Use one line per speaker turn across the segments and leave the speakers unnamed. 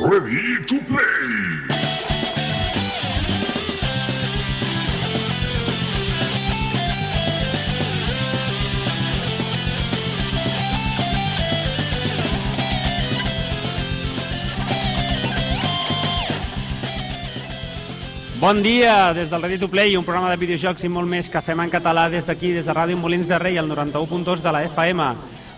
Ready to play!
Bon dia des del Ready to Play, un programa de videojocs i molt més que fem en català des d'aquí, des de Ràdio Molins de Rei, al 91.2 de la FM.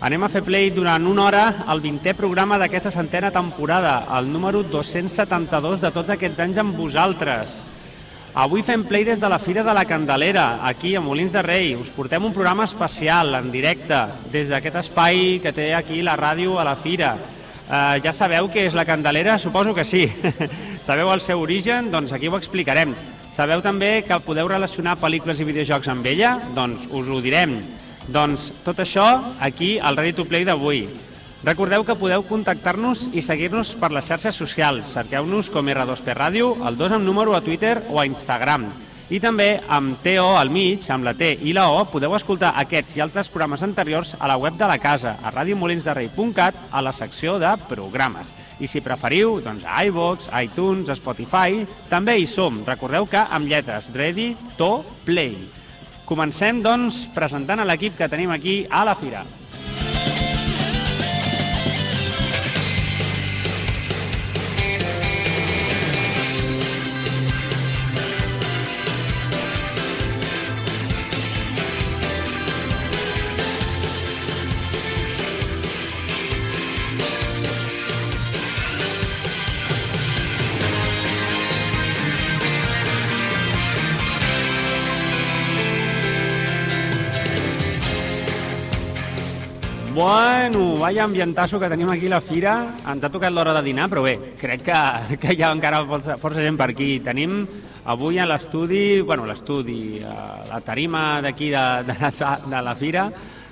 Anem a fer play durant una hora al 20è programa d'aquesta centena temporada, el número 272 de tots aquests anys amb vosaltres. Avui fem play des de la Fira de la Candelera, aquí a Molins de Rei. Us portem un programa especial, en directe, des d'aquest espai que té aquí la ràdio a la Fira. Eh, ja sabeu què és la Candelera? Suposo que sí. sabeu el seu origen? Doncs aquí ho explicarem. Sabeu també que podeu relacionar pel·lícules i videojocs amb ella? Doncs us ho direm. Doncs tot això aquí al Ready to Play d'avui. Recordeu que podeu contactar-nos i seguir-nos per les xarxes socials. Cerqueu-nos com R2P Ràdio, el 2 amb número a Twitter o a Instagram. I també amb TO al mig, amb la T i la O, podeu escoltar aquests i altres programes anteriors a la web de la casa, a radiomolinsderrei.cat, a la secció de programes. I si preferiu, doncs a iVox, iTunes, Spotify, també hi som. Recordeu que amb lletres, ready, to, play. Comencem, doncs, presentant a l'equip que tenim aquí a la fira. Bueno, vaya ambientasso que tenim aquí a la fira. Ens ha tocat l'hora de dinar, però bé, crec que, que hi ha encara força, força gent per aquí. Tenim avui a l'estudi, bueno, l'estudi, a la tarima d'aquí de, de, la, sa- de la fira,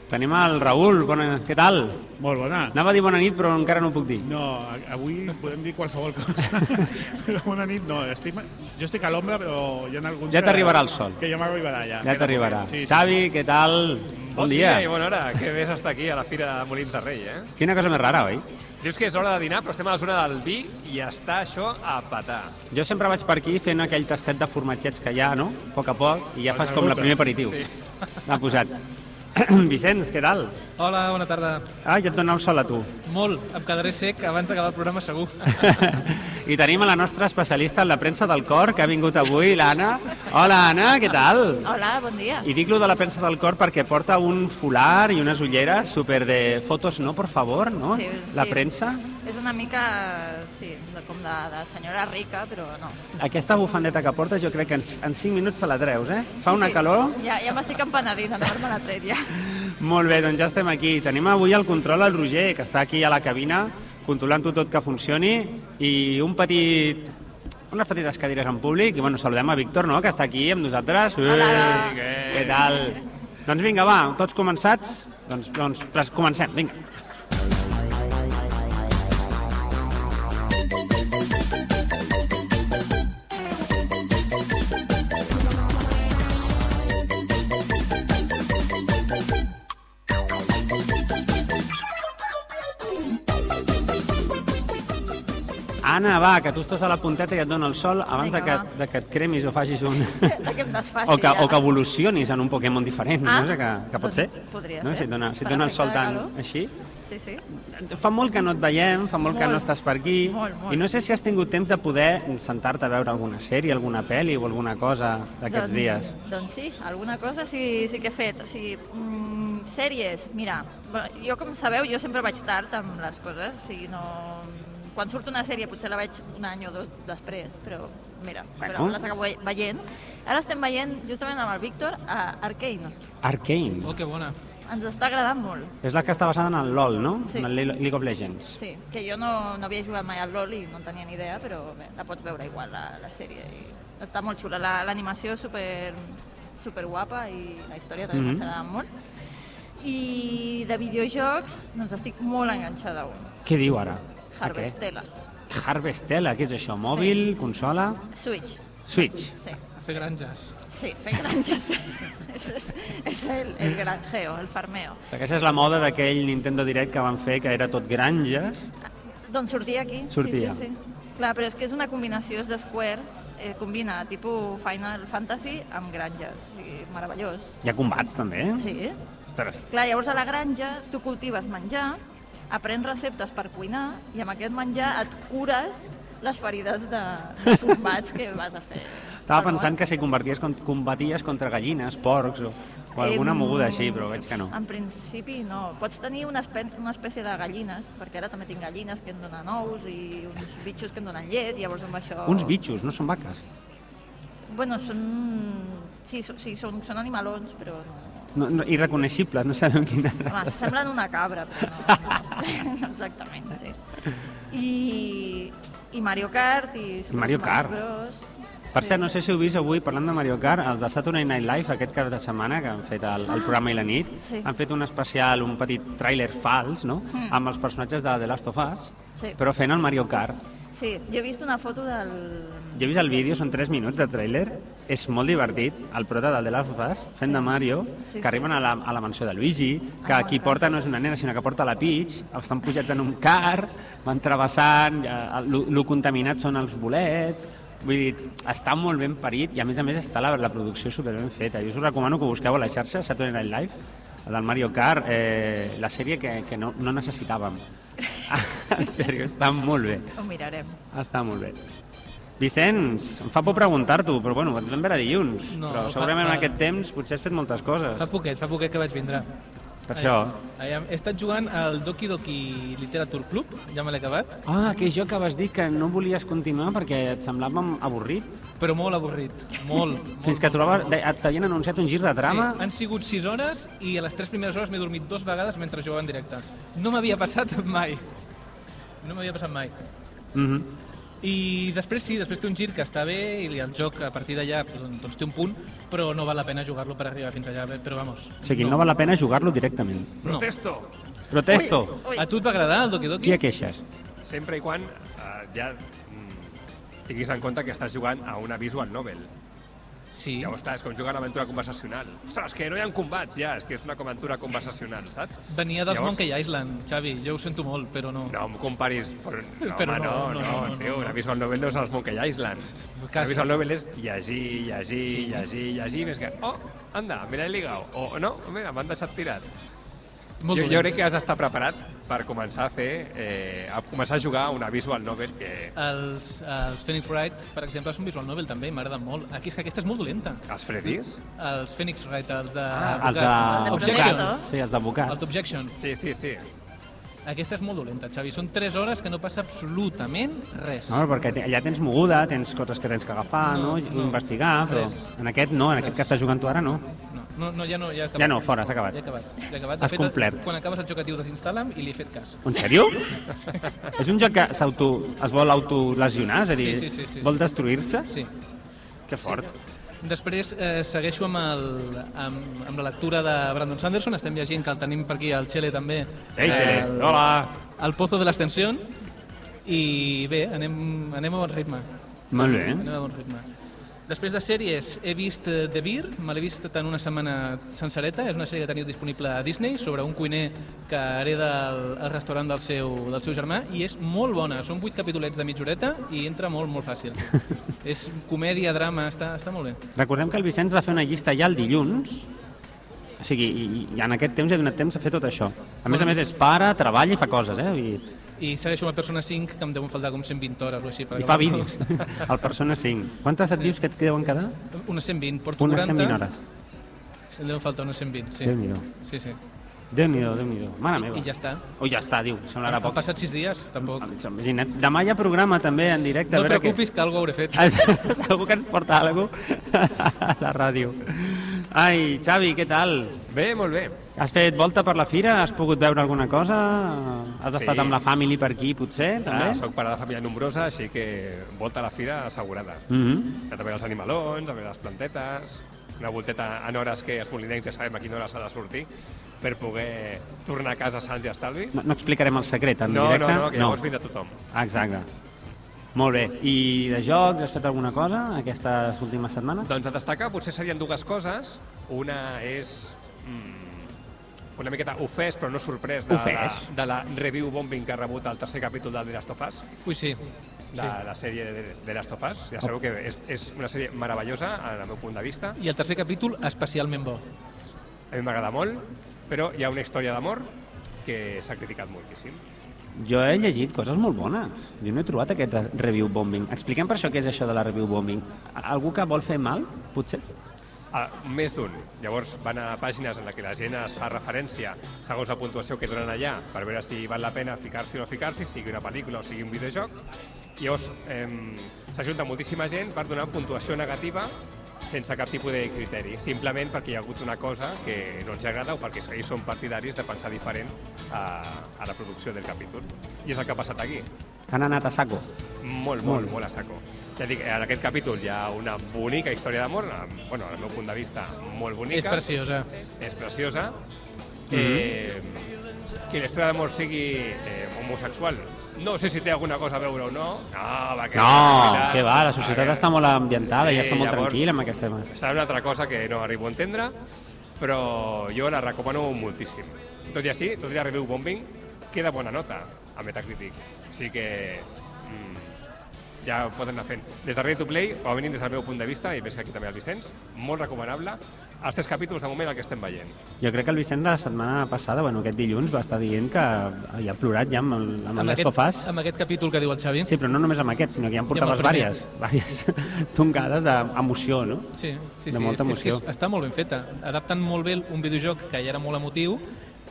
tenim el Raül. Bona, què tal?
Molt bona.
Anava a dir bona nit, però encara no ho puc dir.
No, a- avui podem dir qualsevol cosa. però bona nit, no. Estic, jo estic a l'ombra, però hi ha algun...
Ja t'arribarà el sol.
Que ja m'arribarà, ja.
Ja t'arribarà.
Sí, sí.
Xavi, què tal? Bon dia.
i bona hora. Que bé estar aquí a la Fira de Molins de Rei, eh?
Quina cosa més rara, oi?
Dius que és hora de dinar, però estem a la zona del vi i està això a petar.
Jo sempre vaig per aquí fent aquell tastet de formatgets que hi ha, no? A poc a poc, i ja fas com el primer aperitiu.
Sí.
Va, posats. Vicenç, què tal?
Hola, bona tarda.
Ah, ja et dona el sol a tu.
Molt, em quedaré sec abans d'acabar el programa segur.
I tenim a la nostra especialista en la premsa del cor, que ha vingut avui, l'Anna. Hola, Anna, què tal?
Hola, bon dia.
I dic lo de la premsa del cor perquè porta un folar i unes ulleres super de fotos no, por favor, no?
Sí,
La
sí.
premsa.
És una mica, sí, de, com de, de senyora rica, però no.
Aquesta bufandeta que portes jo crec que en, en 5 minuts te la treus, eh? Fa
Sí,
una
sí.
calor.
Ja, ja m'estic empenedint, no me la tret ja.
Molt bé, doncs ja estem aquí. Tenim avui el control al Roger, que està aquí a la cabina, controlant-ho tot que funcioni, i un petit unes petites cadires en públic, i bueno, saludem a Víctor, no?, que està aquí amb nosaltres.
Hola.
Ei, què, què tal? doncs vinga, va, tots començats? Doncs, doncs pres- comencem, vinga. Anna, va, que tu estàs a la punteta i et dona el sol abans
Vinga,
de que,
va.
de que et cremis o facis un...
De que em desfaci,
o, que,
ja.
o que evolucionis en un Pokémon diferent,
Ah,
no sé, que, que pot
doncs
ser.
podria
no?
ser.
Si et dona, si et
Per
dona el sol
efecte de
tant
calor.
així.
Sí, sí.
Fa molt que no et veiem, fa molt, que no
Molt.
estàs per aquí.
Molt, molt.
I no sé si has tingut temps de poder sentar-te a veure alguna sèrie, alguna pel·li o alguna cosa d'aquests
doncs,
dies.
Doncs sí, alguna cosa sí, sí que he fet. O sigui, mm, sèries, mira, bueno, jo com sabeu, jo sempre vaig tard amb les coses, o sigui, no... Quan surt una sèrie potser la veig un any o dos després, però mira, però
Bueno.
les acabo ve- veient. Ara estem veient justament amb el Víctor a Arcane.
Arcane.
Oh, que bona.
Ens està agradant molt.
És la que està basada en el LOL, no?
Sí.
En el Le- League of Legends.
Sí, que jo no, no havia jugat mai al LOL i no en tenia ni idea, però bé, la pots veure igual, la, la sèrie. I està molt xula. La- L'animació és super, super guapa i la història també
Mhm.
m'està agradant molt. I de videojocs, doncs estic molt enganxada a un.
Què diu ara?
Harvestella.
Aquest? Harvestella, què és això? Mòbil, consola,
Switch.
Switch.
Sí,
A fer granges.
sí, fer granges. és, és, és el, el granjeo, el farmeo.
Segueixes la moda d'aquell Nintendo Direct que van fer que era tot granges.
Doncs sortia aquí.
Sortia.
Sí, sí, sí. Clar, però és que és una combinació, és de Square, eh, combina tipus Final Fantasy amb granges, o sigui, meravellós.
Hi ha combats, també, eh?
Sí.
Ostres,
Clar, llavors a la granja tu cultives menjar, aprens receptes per cuinar i amb aquest menjar et cures les ferides de, dels combats que vas a fer.
estava pensant que si combaties, con- combaties contra gallines, porcs o, o alguna
Em,
moguda així, però veig que no.
En principi no. Pots tenir una, espe una espècie de gallines, perquè ara també tinc gallines que em donen ous i uns bitxos que em donen llet, llavors amb això...
Uns bitxos, no són vaques.
Bueno, són... Sí, són, sí, són, són animalons, però no.
No, no, irreconeixibles, no sabem quina
Home,
raça.
semblen una cabra, però no, no exactament, sí. I, I Mario Kart i Super
Mario
Smash
Kart.
Bros.
Per cert, no sé si heu vist avui, parlant de Mario Kart, els de Saturday Night Live, aquest cap de setmana que han fet el, el programa i la nit,
Ah, Sí.
han fet un especial, un petit tràiler fals, no?,
Mm.
amb els personatges de The Last of Us,
Sí.
però fent el Mario Kart.
Sí, jo he vist una foto del...
Jo he vist el vídeo, són 3 minuts de tràiler, és molt divertit, el prota del The Last of Us, fent
Sí.
de Mario,
Sí,
que arriben
sí.
a la, a la mansió de Luigi, que
Ah,
qui
clar.
porta no és una nena, sinó que porta la Peach, estan pujats en un car, van travessant, el contaminat són els bolets, Vull dir, està molt ben parit i a més a més està la, la producció super ben feta. Jo us recomano que busqueu a la xarxa Saturday Night Live, el del Mario Kart, eh, la sèrie que, que no, no necessitàvem. en sèrio, està molt bé.
Ho mirarem.
Està molt bé. Vicenç, em fa por preguntar-t'ho, però bueno, et vam veure dilluns.
No,
però
fa-
segurament en
fa-
aquest temps potser has fet moltes coses.
Fa poquet, fa poquet que vaig vindre.
Per això.
Aviam, he estat jugant al Doki Doki Literature Club, ja me l'he acabat,
Ah, aquell joc que vas dir que no volies continuar perquè et semblava avorrit.
però molt avorrit, molt, molt.
Fins que trobaves... de- et- T'havien anunciat un gir de trama.
Sí, han sigut 6 hores i a les 3 primeres hores m'he dormit dues vegades mentre jugava en directe. No m'havia passat mai. No m'havia passat mai.
Mhm.
I després sí, després té un gir que està bé i el joc a partir d'allà doncs, doncs té un punt, però no val la pena jugar-lo per arribar fins allà, però vamos.
O sigui, no val la pena jugar-lo directament.
No.
Protesto.
Protesto.
Ui,
A tu et va agradar el Doki Doki?
Qui et queixes?
Sempre i quan eh, ja mm, tinguis en compte que estàs jugant a una visual novel.
Sí.
Llavors, clar, és com jugar a aventura conversacional. Ostres, que no hi ha combats ja, és que és una aventura conversacional, saps?
Venia dels
Llavors-
Monkey Island, Xavi, jo ho sento molt, però no.
No, em comparis... Però, no,
Però
home, no,
no,
no,
no, no, no,
tio,
no.
una visual novel no és els Monkey Island. Una
Casi.
visual novel és llegir, llegir,
Sí.
sí. llegir, llegir, més que... Oh, anda, mira, he ligat. O no, mira, m'han deixat tirat.
Molt
jo,
dolent.
jo crec que has d'estar preparat per començar a fer... Eh, a començar a jugar a una visual novel que...
Els, els Phoenix Wright, per exemple, és un visual novel també, m'agrada molt. Aquí és que aquesta és molt dolenta.
Els Fredis?
Els Phoenix Wright, els de...
Ah,
Els
Advocats.
de
d'advocats.
Objection.
Sí, els d'advocats.
Els Objection.
Sí, sí, sí.
Aquesta és molt dolenta, Xavi. Són 3 hores que no passa absolutament res.
No, perquè te- allà tens moguda, tens coses que tens que agafar, no,
No,
no,
no.
investigar, però
Res.
en aquest no, en aquest que estàs jugant tu ara no.
No, no, no ja no, ja he acabat.
Ja no, fora, s'ha acabat.
Ja he acabat. Ja he acabat.
Has complert.
Quan acabes el joc et diu desinstal·la'm i li he fet cas.
En sèrio? és un joc que s'auto, es vol autolesionar, és a dir,
Sí, sí, sí, sí,
vol
sí.
destruir-se?
Sí.
Que fort.
Després eh, segueixo amb, el, amb, amb la lectura de Brandon Sanderson. Estem llegint que el tenim per aquí, al Xele també.
Ei, Txelés,
El-
hola!
El Pozo de l'Ascensión. I bé, anem, anem a bon ritme.
Molt bé.
Anem a bon ritme. Després de sèries, he vist eh, The Beer, me l'he vist en una setmana sencereta, és una sèrie que teniu disponible a Disney sobre un cuiner que hereda el, el restaurant del seu, del seu germà i és molt bona, són vuit capitolets de mitja horeta i entra molt, molt fàcil. és comèdia, drama, està, està molt bé.
Recordem que el Vicenç va fer una llista ja el dilluns, o sigui, i, i en aquest temps hi ha donat temps a fer tot això. A més a més, és pare, treballa i fa coses, eh? I,
I segueixo amb el Persona 5, que em deuen faltar com 120 hores o així. per
i fa
acabar-lo.
vídeos. El Persona 5. Quantes et dius que et deuen quedar?
Unes 120, porto
Unes
40.
120 hores.
Em deuen faltar unes 120, sí.
Déu-n'hi-do.
Sí, sí.
Déu-n'hi-do, Déu-n'hi-do. Mare meva.
I, I ja està.
O ja està, diu. Semblarà
Han
poc.
passat 6 dies, tampoc.
Imagina't. Demà hi ha programa també en directe. a
No et
veure Ah.
preocupis, que alguna cosa hauré fet.
Què... Segur que ens porta alguna a la ràdio. Ai, Xavi, què tal?
Bé, molt bé.
Has fet volta per la fira? Has pogut veure alguna cosa? Has
Sí.
estat amb la family per aquí, potser, també?
Ah, soc pare de família nombrosa, així que volta a la fira assegurada.
Mhm.
Que també els animalons, també les plantetes, una volteta en hores que els molinencs ja sabem a quina hora s'ha de sortir per poder tornar a casa sants i estalvis.
no, no explicarem el secret en
No, no,
directe?
no, que llavors vindrà tothom.
Ah, Exacte. Molt bé. I de jocs, has fet alguna cosa aquestes últimes setmanes?
Doncs a destacar potser serien dues coses. Una és mm, una miqueta ofès, però no sorprès, de, la,
Ofès.
de la review bombing que ha rebut el tercer capítol del The Last of Us
Ui, sí.
de
sí.
la sèrie de, de Last of Us. Ja sabeu que és, és una sèrie meravellosa, en el meu punt de vista.
I el tercer capítol, especialment bo.
A mi m'agrada molt, però hi ha una història d'amor que s'ha criticat moltíssim.
Jo he llegit coses molt bones. Jo no he trobat aquest review bombing. Expliquem per això què és això de la review bombing. Algú que vol fer mal, potser?
Ah, més d'un. Llavors van a pàgines en la que la gent es fa referència segons la puntuació que donen allà per veure si val la pena ficar-s'hi o no ficar-s'hi, sigui una pel·lícula o sigui un videojoc. I llavors ehm, s'ajunta moltíssima gent per donar puntuació negativa sense cap tipus de criteri, simplement perquè hi ha hagut una cosa que no els agrada o perquè ells són partidaris de pensar diferent a, a la producció del capítol. I és el que ha passat aquí.
Han anat a saco.
Molt, molt, molt a saco. Ja dic, en aquest capítol hi ha una bonica història d'amor, amb- bueno, al meu punt de vista, molt bonica.
És eh. preciosa. Mhm.
És preciosa. Eh, que l'història d'amor sigui eh, homosexual. No sé si té alguna cosa a veure o no. No, va, que
No, que va, la societat
Eh,
està molt ambientada, ja
sí,
està molt
llavors-
tranquil·la amb aquests temes.
Serà una altra cosa que no arribo a entendre, però jo la recomano moltíssim. Tot i així, tot i la review bombing, queda bona nota a Metacritic. Així que mm, ja ho poden anar fent. Des de Ready to Play, o a mínim des del meu punt de vista, i més que aquí també el Vicenç, molt recomanable, els tres capítols de moment el que estem veient.
Jo crec que el Vicent la setmana passada, bueno, aquest dilluns, va estar dient que hi ha plorat ja amb el, amb el Last of Us.
amb aquest capítol que diu el Xavi.
Sí, però no només amb aquest, sinó que ja en portaves
primer.
vàries, vàries tongades d'emoció, no?
Sí, sí,
De
sí.
molta
és, és que
emoció.
és, està molt ben feta. Adapten molt bé un videojoc que ja era molt emotiu,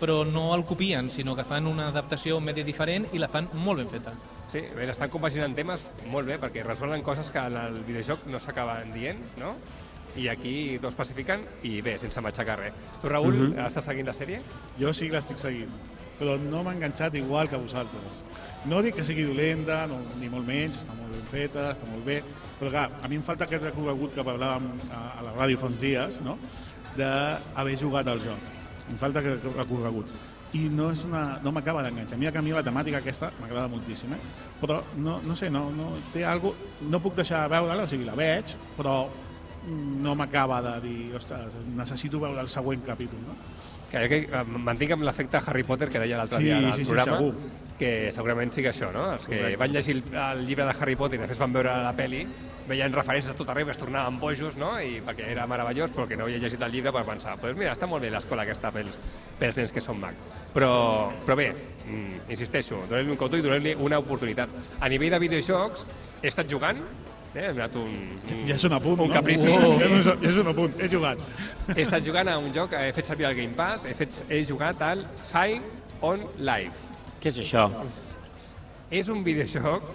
però no el copien, sinó que fan una adaptació medi diferent i la fan molt ben feta.
Sí, a veure, estan compaginant temes molt bé, perquè resolen coses que en el videojoc no s'acaben dient, no? I aquí dos pacifiquen i bé, sense matxacar res. Tu, Raül, mm
Mhm.
estàs seguint la sèrie?
Jo sí que l'estic seguint, però no m'ha enganxat igual que vosaltres. No dic que sigui dolenta, no, ni molt menys, està molt ben feta, està molt bé, però clar, a mi em falta aquest recorregut que parlàvem a, a la ràdio fa uns dies, no? d'haver jugat al joc. Em falta aquest recorregut. I no, és una, no m'acaba d'enganxar. Mira que a mi la temàtica aquesta m'agrada moltíssim, eh? però no, no sé, no, no, té algo, no puc deixar de veure-la, o sigui, la veig, però no m'acaba de dir, ostres, necessito veure el següent capítol. No?
Que, que eh, mantinc amb l'efecte Harry Potter que deia l'altre
Sí,
dia al
sí, sí,
programa,
segur.
que segurament sí que això, no? Els que
Correcte.
van llegir el, el llibre de Harry Potter i després van veure la peli, veien referències a tot arreu, es tornaven bojos, no? I perquè era meravellós, però que no havia llegit el llibre per pensar, doncs pues mira, està molt bé l'escola aquesta pels, pels nens que són mag. Però, però bé, mm, insisteixo, doneu-li un cotó i doneu-li una oportunitat. A nivell de videojocs, he estat jugant, eh, hem anat un, un,
Ja és un apunt,
un
no?
caprici.
Oh,
Sí.
ja és, ja és un apunt, he jugat.
He estat jugant a un joc, he fet servir el Game Pass, he, fet, he jugat al High on Life.
Què és això?
És un videojoc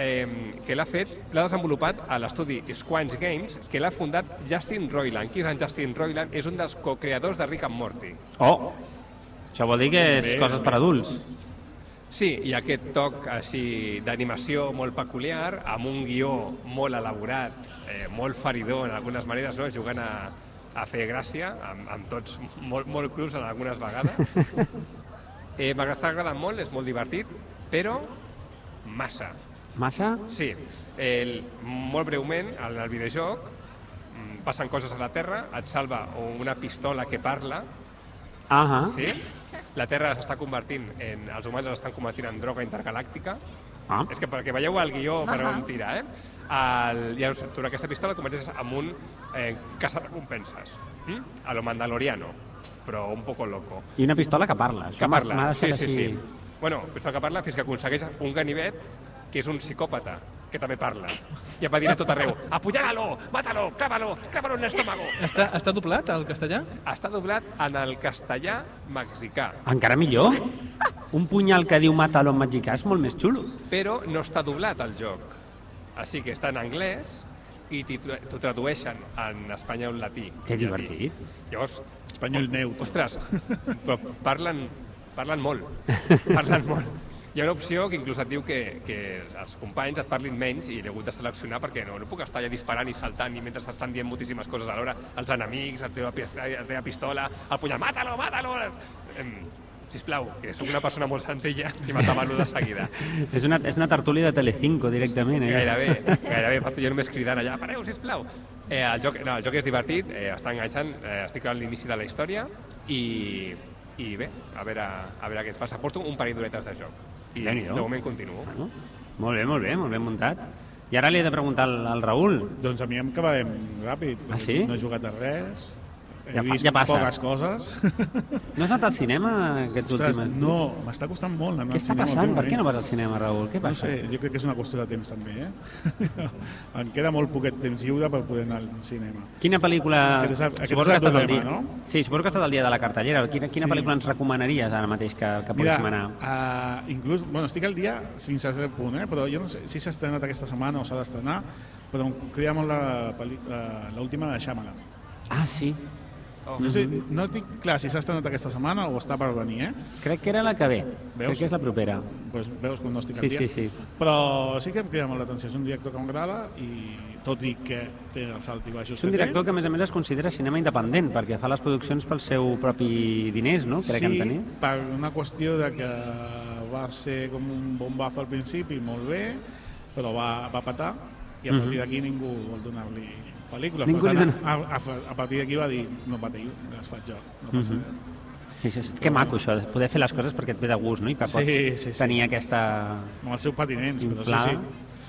eh, que l'ha fet, l'ha desenvolupat a l'estudi Squanch Games, que l'ha fundat Justin Roiland. Qui és en Justin Roiland? És un dels co-creadors de Rick and Morty.
Oh! Això vol dir que és coses per adults.
Sí, i aquest toc així d'animació molt peculiar, amb un guió molt elaborat, eh, molt feridor en algunes maneres, no? jugant a, a fer gràcia, amb, amb tots molt, molt crus en algunes vegades. Eh, M'ha està agradant molt, és molt divertit, però massa.
Massa?
Sí, el, molt breument, en el videojoc, mm, passen coses a la Terra, et salva una pistola que parla,
Ahà.
sí? La Terra s'està convertint en... Els humans estan convertint en droga intergalàctica.
Ah.
És que perquè veieu el guió per
Ahà.
on tira, eh? El, ja us tu aquesta pistola et converteixes en un eh, caçarrecompenses. Mm? A lo mandaloriano, però un poco loco.
I una pistola que parla. Això
Que
m'ha-
parla.
M'ha deixat
sí, sí,
així...
sí. Bueno, pistola que parla fins que aconsegueix un ganivet que és un psicòpata, que també parla. I va dir a tot arreu, apunyala-lo, mata-lo, clava-lo, clava-lo en l'estómago.
Està, està doblat al castellà?
Està doblat en el castellà mexicà,
Encara millor. Un punyal que diu mata-lo en mexicà és molt més xulo.
però no està doblat al joc. Així que està en anglès i t'hi tra- t'ho tradueixen en espanyol latí.
Que
Llatí.
divertit.
Llavors,
Espanyol neutre.
Ostres, però parlen, parlen molt, parlen molt. Hi ha una opció que inclús et diu que, que els companys et parlin menys i l'he hagut de seleccionar perquè no, no puc estar allà disparant i saltant i mentre t'estan dient moltíssimes coses alhora, els enemics, la teva, pis- la teva pistola, el punyal, mata-lo, mata-lo! Em, sisplau, que sóc una persona molt senzilla i matava-lo de seguida.
És una, és una tertúlia de Telecinco directament, eh?
Gairebé, gairebé, fa- jo només cridant allà, pareu, sisplau. Eh, el, joc, no, el joc és divertit, eh, està enganxant, eh, estic a l'inici de la història i, i bé, a veure, a veure què ens passa. Porto un parell d'horetes de joc. I
Déu-n'hi-do.
de moment continuo.
Bueno, molt bé, molt bé, molt ben muntat. I ara li he de preguntar al, al Raül.
Doncs a mi em quedem ràpid.
Ah, sí?
No he jugat a res. He
Ja fa-
vist
ja passa.
poques coses.
No has anat al cinema aquests
Ostres,
últims...
no, m'està costant molt anar
Què
al
està
cinema
passant? Per
últimament.
què no vas al cinema, Raül? Què
No
passa?
sé, jo crec que és una qüestió de temps també, eh? em queda molt poquet temps lliure per poder anar al cinema.
Quina pel·lícula...
Aquest és el- aquest
suposo
és el
que estàs al
problema,
dia.
no?
Sí, suposo que estàs al dia de la cartellera. Quina, quina
Sí.
pel·lícula ens recomanaries ara mateix que, que
Mira,
poguéssim anar?
uh, inclús, bueno, estic al dia fins a cert punt, eh? però jo no sé si s'ha estrenat aquesta setmana o s'ha d'estrenar, però em crida molt la pel·li- eh, l'última uh, de Shyamalan.
Ah, sí.
Oh,
No, sé, no tinc clar si s'ha estrenat aquesta setmana o està per venir, eh?
Crec que era la que ve.
Veus?
Crec que és la propera.
pues veus com no estic
Sí,
al dia.
sí, sí.
Però sí que em crida molt l'atenció. És un director que m'agrada i tot i que té els alt i baixos
És un
que té,
director que, a més a més, es considera cinema independent, perquè fa les produccions pel seu propi diners, no? Crec,
sí,
Antoni?
per una qüestió de que va ser com un bombazo al principi, molt bé, però va, va patar i a
Mhm.
partir d'aquí ningú vol donar-li pel·lícules.
Ningú
per
li
tant,
dona-
a, a, a partir d'aquí va dir, no patiu, les faig jo. No passa
Mhm.
res.
Sí, sí, sí. Que maco, això, de poder fer les coses perquè et ve de gust, no? I que
Sí,
pots
sí, sí.
tenir aquesta
Amb els seus patinents, però sí,
inflada.
sí.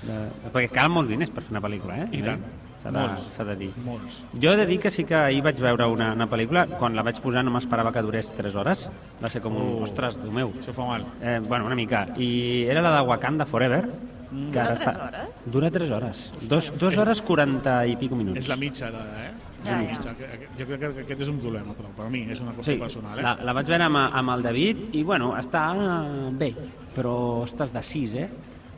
De... Perquè calen molts diners per fer una pel·lícula, eh?
I tant.
S'ha de,
Molts.
s'ha de dir.
Molts.
Jo he de dir que sí que ahir vaig veure una, una pel·lícula, quan la vaig posar no m'esperava que durés 3 hores, va ser com un,
Oh.
ostres, Déu meu.
Això fa mal.
Eh, bueno, una mica. I era la de Wakanda Forever, que
Dura
ara
tres
està...
hores?
Dura 3 hores. Dos, dos hores 40 i pico minuts.
És la mitja, de, eh? És la
Ja, ja.
mitja. Jo crec que aquest és un problema, però per mi és una cosa
Sí,
personal, eh?
la, la vaig veure amb, amb el David i, bueno, està bé, però, ostres, de 6, eh?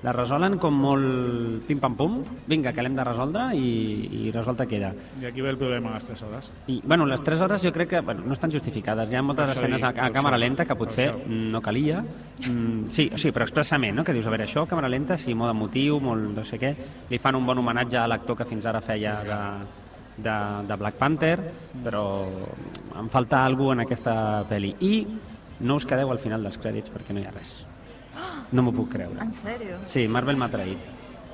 La resolen com molt pim-pam-pum, vinga, que l'hem de resoldre i, i resolta queda.
I aquí ve el problema a les 3 hores.
I, bueno, les 3 hores jo crec que bueno, no estan justificades. Hi ha moltes
Per això
escenes a,
dic,
a
per
càmera
això,
lenta que
per
potser
això.
no calia. Mm, sí, sí, però expressament, no? Que dius, a veure, això, càmera lenta, sí, molt emotiu, molt no sé què. Li fan un bon homenatge a l'actor que fins ara feia de, de, de Black Panther, però em falta algú en aquesta pel·li. I no us quedeu al final dels crèdits perquè no hi ha res. No m'ho puc creure.
En sèrio?
Sí, Marvel m'ha traït.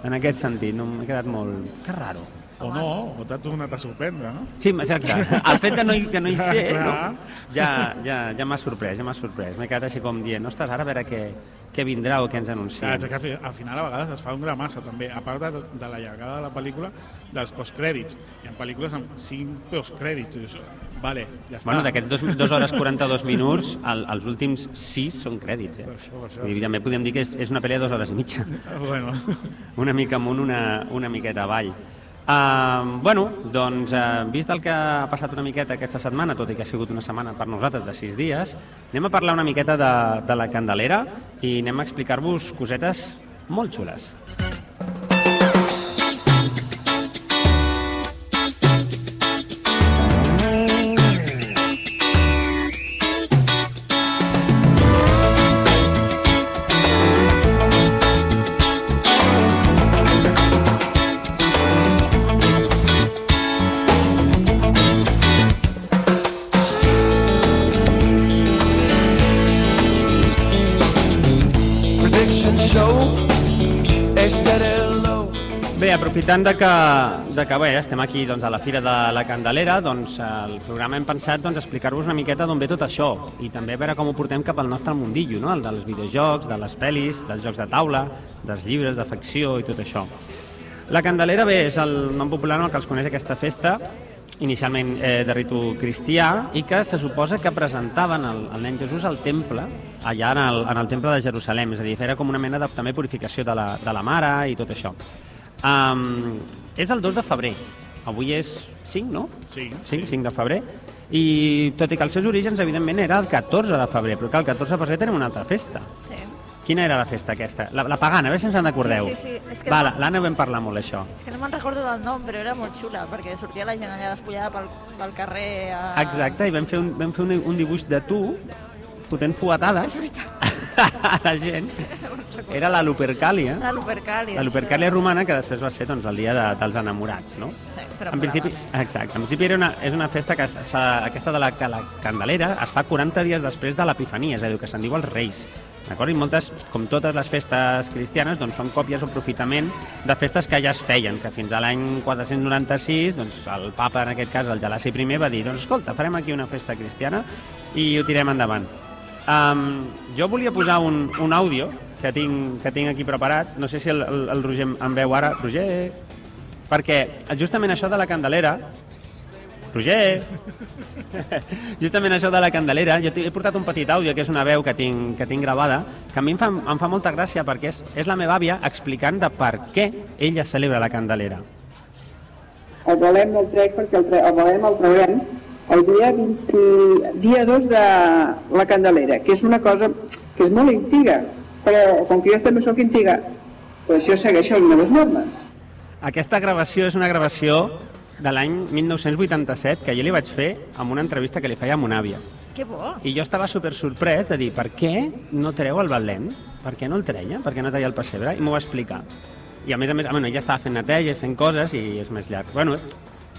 En aquest sentit, no m'he quedat molt... Que raro.
O no, o t'ha tornat a sorprendre, no?
Sí, exacte. El fet de no hi, de no hi ser no?
Clar.
ja, ja, ja m'ha sorprès, ja m'ha sorprès. M'he quedat així com dient, ostres, ara a veure què, què vindrà o què ens
Clar, és
anuncien.
Ah, que al fi- al final a vegades es fa un gran massa també, a part de, de la llargada de la pel·lícula, dels postcrèdits. Hi ha pel·lícules amb 5 postcrèdits. Dius, vale, ja està.
Bueno, d'aquests dos, dos hores 42 minuts, el, els últims sis són crèdits.
Per
Eh?
això, per això.
I també podem dir que és, és una pel·li de dues hores i mitja.
Bueno,
Una mica amunt, una, una miqueta avall. Uh, bueno, doncs, uh, vist el que ha passat una miqueta aquesta setmana, tot i que ha sigut una setmana per nosaltres de sis dies, anem a parlar una miqueta de, de la Candelera i anem a explicar-vos cosetes molt xules.
Prediction show es that hello.
Bé, aprofitant de que, de que bé, estem aquí doncs, a la Fira de la Candelera, doncs, el programa hem pensat doncs, explicar-vos una miqueta d'on ve tot això i també veure com ho portem cap al nostre mundillo, no? el dels videojocs, de les pel·lis, dels jocs de taula, dels llibres, de facció i tot això. La Candelera, bé, és el nom popular amb el que els coneix aquesta festa, inicialment eh, de ritu cristià, i que se suposa que presentaven el, el nen Jesús al temple, allà en el, en el temple de Jerusalem, és a dir, era com una mena de també purificació de la, de la mare i tot això. Um, és el 2 de febrer. Avui és 5, no?
sí.
5, 5 de febrer. I tot i que els seus orígens, evidentment, era el 14 de febrer, però que el 14 de febrer tenen una altra festa.
Sí.
Quina era la festa aquesta? La, la pagana, a veure si ens en recordeu.
Sí, sí, sí, és que
Va,
no-
la- l'Anna ho vam parlar molt, això.
És que no me'n recordo del nom, però era molt xula, perquè sortia la gent allà despullada pel, pel carrer... A...
Exacte, i vam fer un, vam fer un, un dibuix de tu fotent fuetades a la gent. Era la Lupercàlia,
Una lupercàlia.
la Lupercàlia romana, que després va ser doncs, el dia de, dels enamorats, no?
Sí, però
en principi, exacte, en principi era una, és una festa que s'ha- aquesta de la, que la Candelera es fa 40 dies després de l'Epifania, és a dir, que se'n diu els Reis. D'acord? I moltes, com totes les festes cristianes, doncs són còpies o aprofitament de festes que ja es feien, que fins a l'any 496 doncs, el papa, en aquest cas, el Gelasi I, va dir doncs escolta, farem aquí una festa cristiana i ho tirem endavant. Um, jo volia posar un, un àudio que tinc, que tinc aquí preparat, no sé si el, el, el Roger em veu ara. Roger! Perquè justament això de la Candelera... Roger! justament això de la Candelera, jo he portat un petit àudio que és una veu que tinc, que tinc gravada, que a mi em fa, em fa molta gràcia perquè és, és la meva àvia explicant de per què ella celebra la Candelera.
el volem del trec perquè el, tre el volem el traurem el dia, 20, dia 2 de la Candelera, que és una cosa que és molt antiga, però com que jo també sóc antiga, doncs jo segueixo les meves normes.
Aquesta gravació és una gravació de l'any 1987 que jo li vaig fer amb una entrevista que li feia a mon àvia.
Que bo!
I jo estava super sorprès de dir per què no treu el Betlem? Per què no el treia? Per què no treia el pessebre? I m'ho va explicar. I a més a més, bueno, ella estava fent neteja i fent coses i és més llarg. Bueno,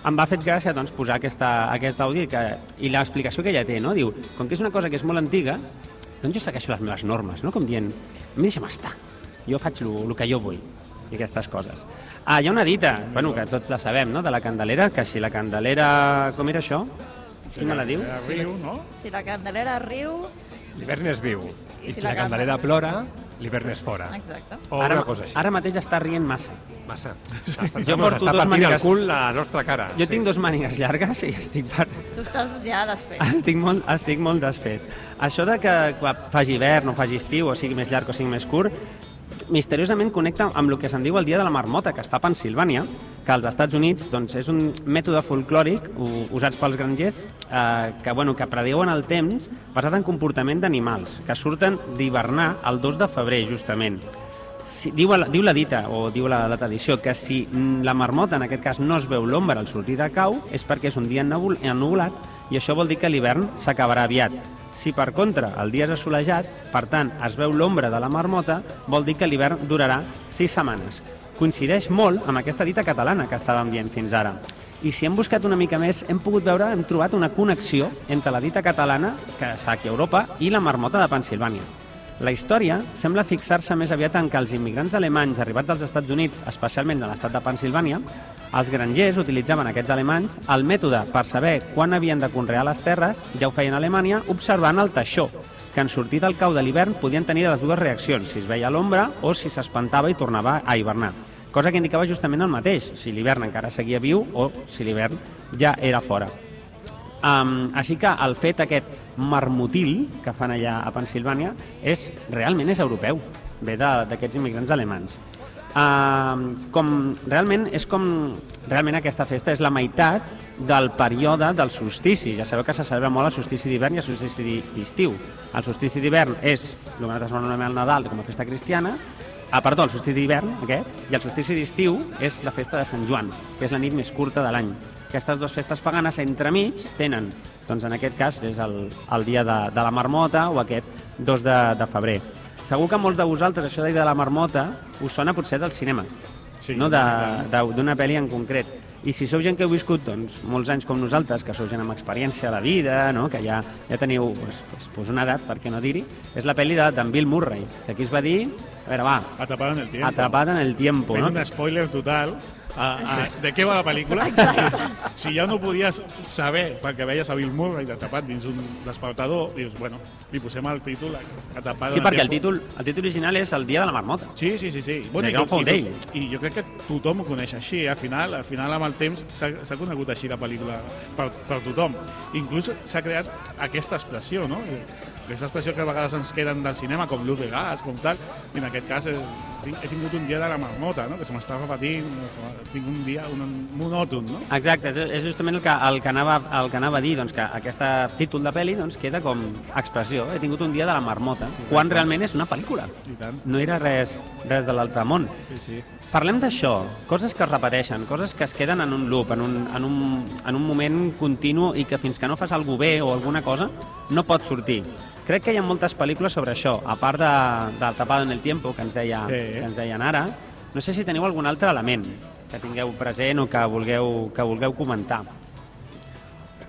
em va fet gràcia doncs, posar aquesta, aquest àudio i, que, i l'explicació que ella té, no? Diu, com que és una cosa que és molt antiga, doncs jo segueixo les meves normes, no? Com dient, a mi deixa'm estar, jo faig el que jo vull i aquestes coses. Ah, hi ha una dita, bueno, que tots la sabem, no?, de la Candelera, que si la Candelera... Com era això? Qui me la diu?
Eh, riu, no?
Si la Candelera riu...
L'hivern és viu. I
I si
si
la
la candelera
candela-
plora, l'hivern és fora.
Exacte.
O una cosa així.
ara mateix està rient massa.
Massa. Està, està,
Jo porto
està
dos
partint el
mànigues.
cul la nostra cara.
Jo tinc dos mànigues llargues i estic per...
Tu estàs ja desfet.
Estic molt, estic molt desfet. Això de que quan faci hivern o faci estiu, o sigui més llarg o sigui més curt, misteriosament connecta amb el que se'n diu el Dia de la Marmota, que es fa a Pensilvània, que als Estats Units doncs, és un mètode folclòric u- usats pels grangers eh, que, bueno, que prediuen el temps basat en comportament d'animals, que surten d'hivernar el 2 de febrer, justament. Si, diu, la, diu la dita, o diu la, la tradició, que si mm, la marmota, en aquest cas, no es veu l'ombra al sortir de cau, és perquè és un dia ennubul- ennuvolat i això vol dir que l'hivern s'acabarà aviat. Si, per contra, el dia és assolejat, per tant, es veu l'ombra de la marmota, vol dir que l'hivern durarà sis setmanes. Coincideix molt amb aquesta dita catalana que estàvem dient fins ara. I si hem buscat una mica més, hem pogut veure, hem trobat una connexió entre la dita catalana, que es fa aquí a Europa, i la marmota de Pensilvània. La història sembla fixar-se més aviat en que els immigrants alemanys arribats als Estats Units, especialment de l'estat de Pensilvània, els grangers utilitzaven aquests alemanys el mètode per saber quan havien de conrear les terres, ja ho feien a Alemanya, observant el teixó, que en sortir del cau de l'hivern podien tenir les dues reaccions, si es veia l'ombra o si s'espantava i tornava a hivernar. Cosa que indicava justament el mateix, si l'hivern encara seguia viu o si l'hivern ja era fora. Um, així que el fet aquest marmotil que fan allà a Pensilvània és, realment és europeu, ve de- d'aquests immigrants alemans. Um, com, realment és com realment aquesta festa és la meitat del període del solstici ja sabeu que se celebra molt el solstici d'hivern i el solstici d'hi- d'estiu el solstici d'hivern és el que nosaltres anomenem el Nadal com a festa cristiana Ah, perdó, el solstici d'hivern, aquest, i el solstici d'estiu és la festa de Sant Joan, que és la nit més curta de l'any. Aquestes dues festes paganes entremig tenen, doncs en aquest cas és el, el dia de, de la marmota o aquest 2 de, de febrer. Segur que a molts de vosaltres això de, de la marmota us sona potser del cinema,
Sí,
no? De- de- d'una pel·li en concret. I si sou gent que heu viscut doncs, molts anys com nosaltres, que sou gent amb experiència a la vida, no? que ja, ja teniu pues, pues, pues una edat, per què no dir-hi, és la pel·li de- d'en Bill Murray, que aquí es va dir... A veure, va,
Atrapada en el tiempo.
Atrapada en el tiempo,
Fent
no?
un spoiler total a, a, de què va la pel·lícula. si ja no podies saber perquè veies a Bill Murray atrapat dins un despertador, dius, bueno, li posem el títol atrapada
Sí, perquè el títol, el títol original és El dia de la marmota.
Sí, sí, sí, sí.
The
i,
Grand Hall
i,
Day.
i, jo crec que tothom ho coneix així. Al final, al final amb el temps s'ha s'ha conegut així la pel·lícula per, per tothom. Inclús s'ha creat aquesta expressió, no? Aquesta expressió que a vegades ens queden del cinema, com l'ús de gas, com tal, i en aquest cas he, he tingut un dia de la marmota, no? que se m'està repetint, se m'ha- tinc un dia un, un monòton, no?
Exacte, és, és justament el que, el, que anava, el que anava a dir, doncs, que aquest títol de pel·li doncs, queda com expressió. He tingut un dia de la marmota, quan realment és una pel·lícula.
I tant.
No era res, res de l'altre món.
Sí, sí.
Parlem d'això, coses que es repeteixen, coses que es queden en un loop, en un, en, un, en un moment continu i que fins que no fas alguna bé o alguna cosa no pot sortir. Crec que hi ha moltes pel·lícules sobre això, a part de, del Tapado en el Tiempo, que ens, deia,
Sí.
que ens deien ara. No sé si teniu algun altre element que tingueu present o que vulgueu, que vulgueu comentar.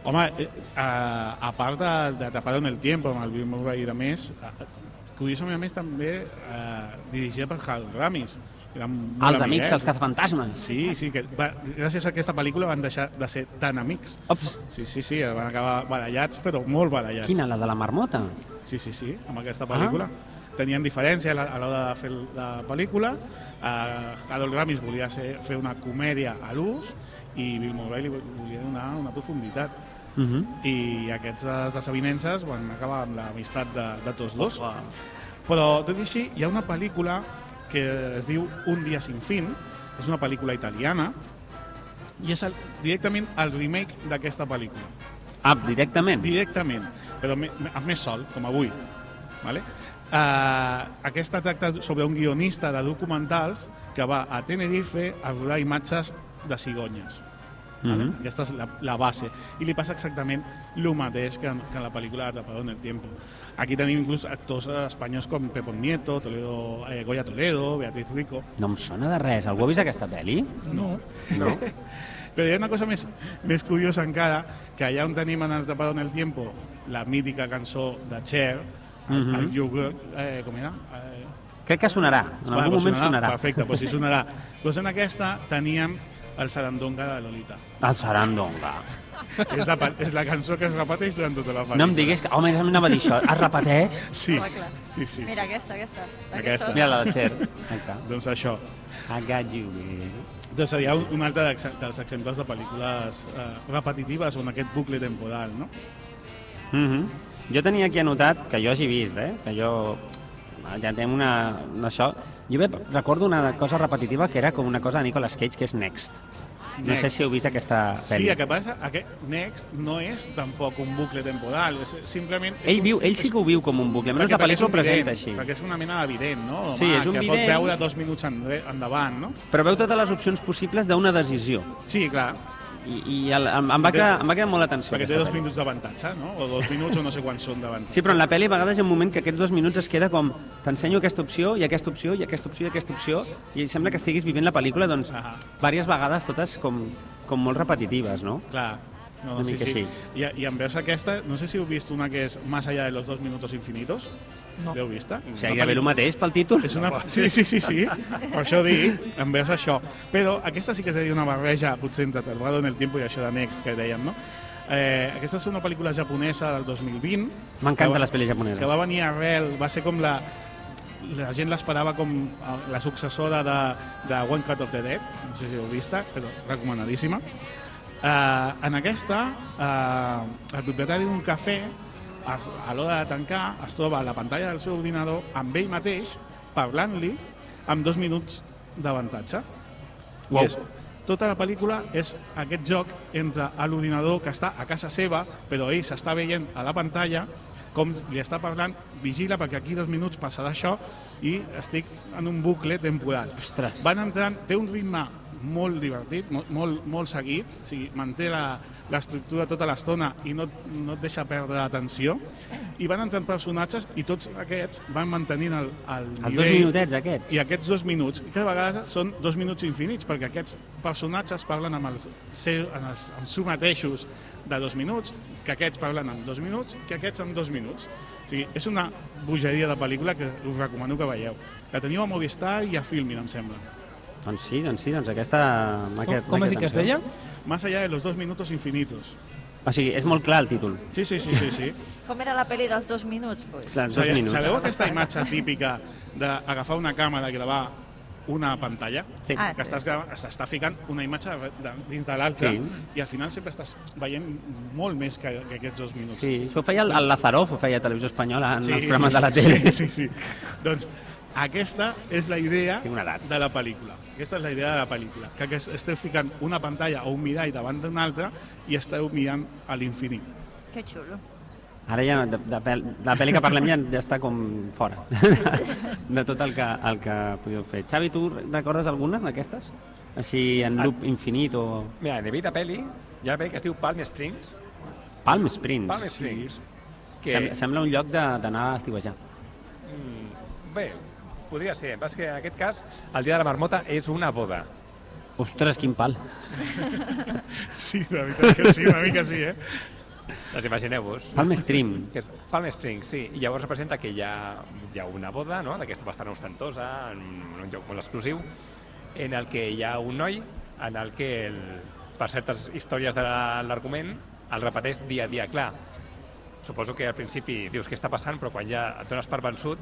Home, eh, a, a part de- d'Atrapado en el Tiempo, amb el Bill Murray i de més, eh, curiosament a eh? més també eh, dirigida per Hal Ramis, Érem molt
Ah, Els amics, els
amiguets.
cazafantasmes.
Sí, sí, que va, gràcies a aquesta pel·lícula van deixar de ser tan amics.
Ops,
Sí, sí, sí, van acabar barallats, però molt barallats.
quina, Ah. la de la marmota?
Sí, sí, sí, amb aquesta pel·lícula. Tenien diferència a la- a l'hora de fer la pel·lícula. Uh, Harold Ramis volia ser, fer una comèdia a l'ús i Bill Murray li volia donar una profunditat.
Uh -huh.
I eh, aquestes desavinences van acabar amb l'amistat de, de tots dos.
Oh,
Però, tot i així, hi ha una pel·lícula que es diu Un dia sin fin, és una pel·lícula italiana, i és el, directament el remake d'aquesta pel·lícula.
Ah, directament.
Directament, però me- me- amb més sol, com avui. Vale? Uh, aquesta tracta sobre un guionista de documentals que va a Tenerife a rodar imatges de cigonyes. Vale?
Mhm.
Aquesta és la, la base. I li passa exactament el mateix que en, que en la pel·lícula Atrapado en el Tiempo. Aquí tenim inclús actors eh, espanyols com Pepón Nieto, Toledo, eh, Goya Toledo, Beatriz Rico...
No em sona de res. Algú ha vist aquesta pel·li?
No.
No?
Però hi ha una cosa més, més curiosa encara, que allà on tenim en Atrapado en el Tiempo la mítica cançó de Cher, el,
Mhm.
el You Girl, eh, com era? Eh,
Crec que sonarà. En
va,
algun
doncs
moment sonarà.
Perfecte, doncs sí sonarà. doncs en aquesta teníem el Sarandonga de Lolita.
El Sarandonga.
És la, pa- és la cançó que es repeteix durant tota la
No
pel·lícula.
em diguis que... Home, ja m'anava a dir això. Es repeteix?
Sí,
Home, clar.
sí, sí.
Mira, aquesta, aquesta.
Aquesta.
Mira la de Cher. Exacte.
Doncs això.
I got you, baby.
Doncs seria un, un altre d'ex- dels exemples de pel·lícules eh, repetitives on aquest bucle temporal, no?
Mhm. Jo tenia aquí anotat, que jo hagi vist, eh? que jo ja tenim una, una això. Jo ve- recordo una cosa repetitiva que era com una cosa de Nicolas Cage, que és Next. No sé
Next.
si heu vist aquesta
Sí,
pel·li.
el que passa aquest Next no és tampoc un bucle temporal, és simplement... És
Ell,
un-
viu, ell sí que ho viu com un bucle, almenys
perquè-
la
perquè és
pel·lícula ho
un vident,
presenta així.
Perquè és una mena de vident, no?
Sí, és un
que
vident.
pot veure dos minuts enre- endavant, no?
Però veu totes les opcions possibles d'una decisió.
Sí, clar,
I, i el, em, em, va
Té-
quedar, em va quedar molt l'atenció.
perquè
aquesta
té dos
pel·li.
minuts d'avantatge, no? O dos minuts o no sé quants són d'avantatge.
Sí, però en la pel·li a vegades hi ha un moment que aquests dos minuts es queda com t'ensenyo aquesta opció, i aquesta opció, i aquesta opció, i aquesta opció, i sembla que estiguis vivint la pel·lícula, doncs,
Ahà.
diverses vegades, totes com, com molt repetitives, no?
Clar. No,
Una
no, sí,
mica
sí.
així.
I, I en veus aquesta, no sé si heu vist una que és Más allá de los dos minutos infinitos. No. L'heu vista?
O sigui, gairebé el mateix pel títol.
És una... Sí, sí, sí, sí. Per això dic, em veus això. Però aquesta sí que seria una barreja, potser, entre Tardado en el Tiempo i això de Next, que dèiem, no? Eh, aquesta és una pel·lícula japonesa del 2020.
M'encanten
Que va-
les pel·lis japoneses.
Que va venir arrel, va ser com la... La gent l'esperava com eh, la successora de, de One Cut of the Dead, no sé si heu vista, però recomanadíssima. Eh, en aquesta, eh, el propietari d'un cafè, a, a l'hora de tancar, es troba a la pantalla del seu ordinador amb ell mateix, parlant-li, amb dos minuts d'avantatge.
Uau.
I és, tota la pel·lícula és aquest joc entre a l'ordinador que està a casa seva, però ell s'està veient a la pantalla, com li està parlant, vigila perquè aquí dos minuts passarà això i estic en un bucle temporal
Ostres.
van entrant, té un ritme molt divertit, molt, molt, molt seguit, o sigui, manté la- l'estructura tota l'estona i no, no et deixa perdre l'atenció, i van entrant personatges i tots aquests van mantenint el, el
Els dos
nivell
minutets aquests.
i aquests dos minuts, que a vegades són dos minuts infinits, perquè aquests personatges parlen amb els, seu, amb els amb su mateixos de dos minuts, que aquests parlen amb dos minuts, que aquests amb dos minuts. O sigui, és una bogeria de pel·lícula que us recomano que veieu. La teniu a Movistar i a Filmin, em sembla.
Doncs sí, doncs sí, doncs aquesta...
Com, com has dit que es deia?
Más allá de los dos minutos infinitos.
O sigui, és molt clar el títol.
Sí, sí, sí, sí, sí.
Com era la pel·li dels dos minuts? Pues?
Els dos
Sabeu-
minuts.
Sabeu aquesta imatge típica d'agafar una càmera i gravar una pantalla?
Sí.
Ah,
que estàs, gra- s'està ficant una imatge de, de, dins de l'altra
Sí.
i al final sempre estàs veient molt més que, que aquests dos minuts.
Sí, això ho feia el, el Lazaroff, ho feia Televisió Espanyola en
Sí.
els programes de la tele.
Sí, sí, sí. Doncs aquesta és la idea
Tinc una edat.
de la pel·lícula. Aquesta és la idea de la pel·lícula, que, que esteu ficant una pantalla o un mirall davant d'una altra i esteu mirant a l'infinit.
Que xulo.
Ara ja, no, de, de, pel- de la pel·li que parlem ja, ja està com fora de tot el que, el que podíeu fer. Xavi, tu recordes alguna d'aquestes? Així en loop infinit o...
Mira, de vida peli, hi ha una pel·li que es diu Palm Springs.
Palm Springs.
Palm
Palm
Springs.
que... Sem sembla un lloc de- d'anar a estiuejar.
Mm, Bé, podria ser. El que passa és que en aquest cas, el dia de la marmota és una boda.
Ostres, quin pal.
Sí, la veritat que sí, una mica sí, eh?
Doncs imagineu-vos.
Palm Stream.
Que és Palm Springs, sí. I llavors representa que hi ha, hi ha una boda, no?, d'aquesta bastant ostentosa, en un lloc molt exclusiu, en el que hi ha un noi en el que, el, per certes històries de l'argument, el repeteix dia a dia. Clar, suposo que al principi dius què està passant, però quan ja et dones per vençut,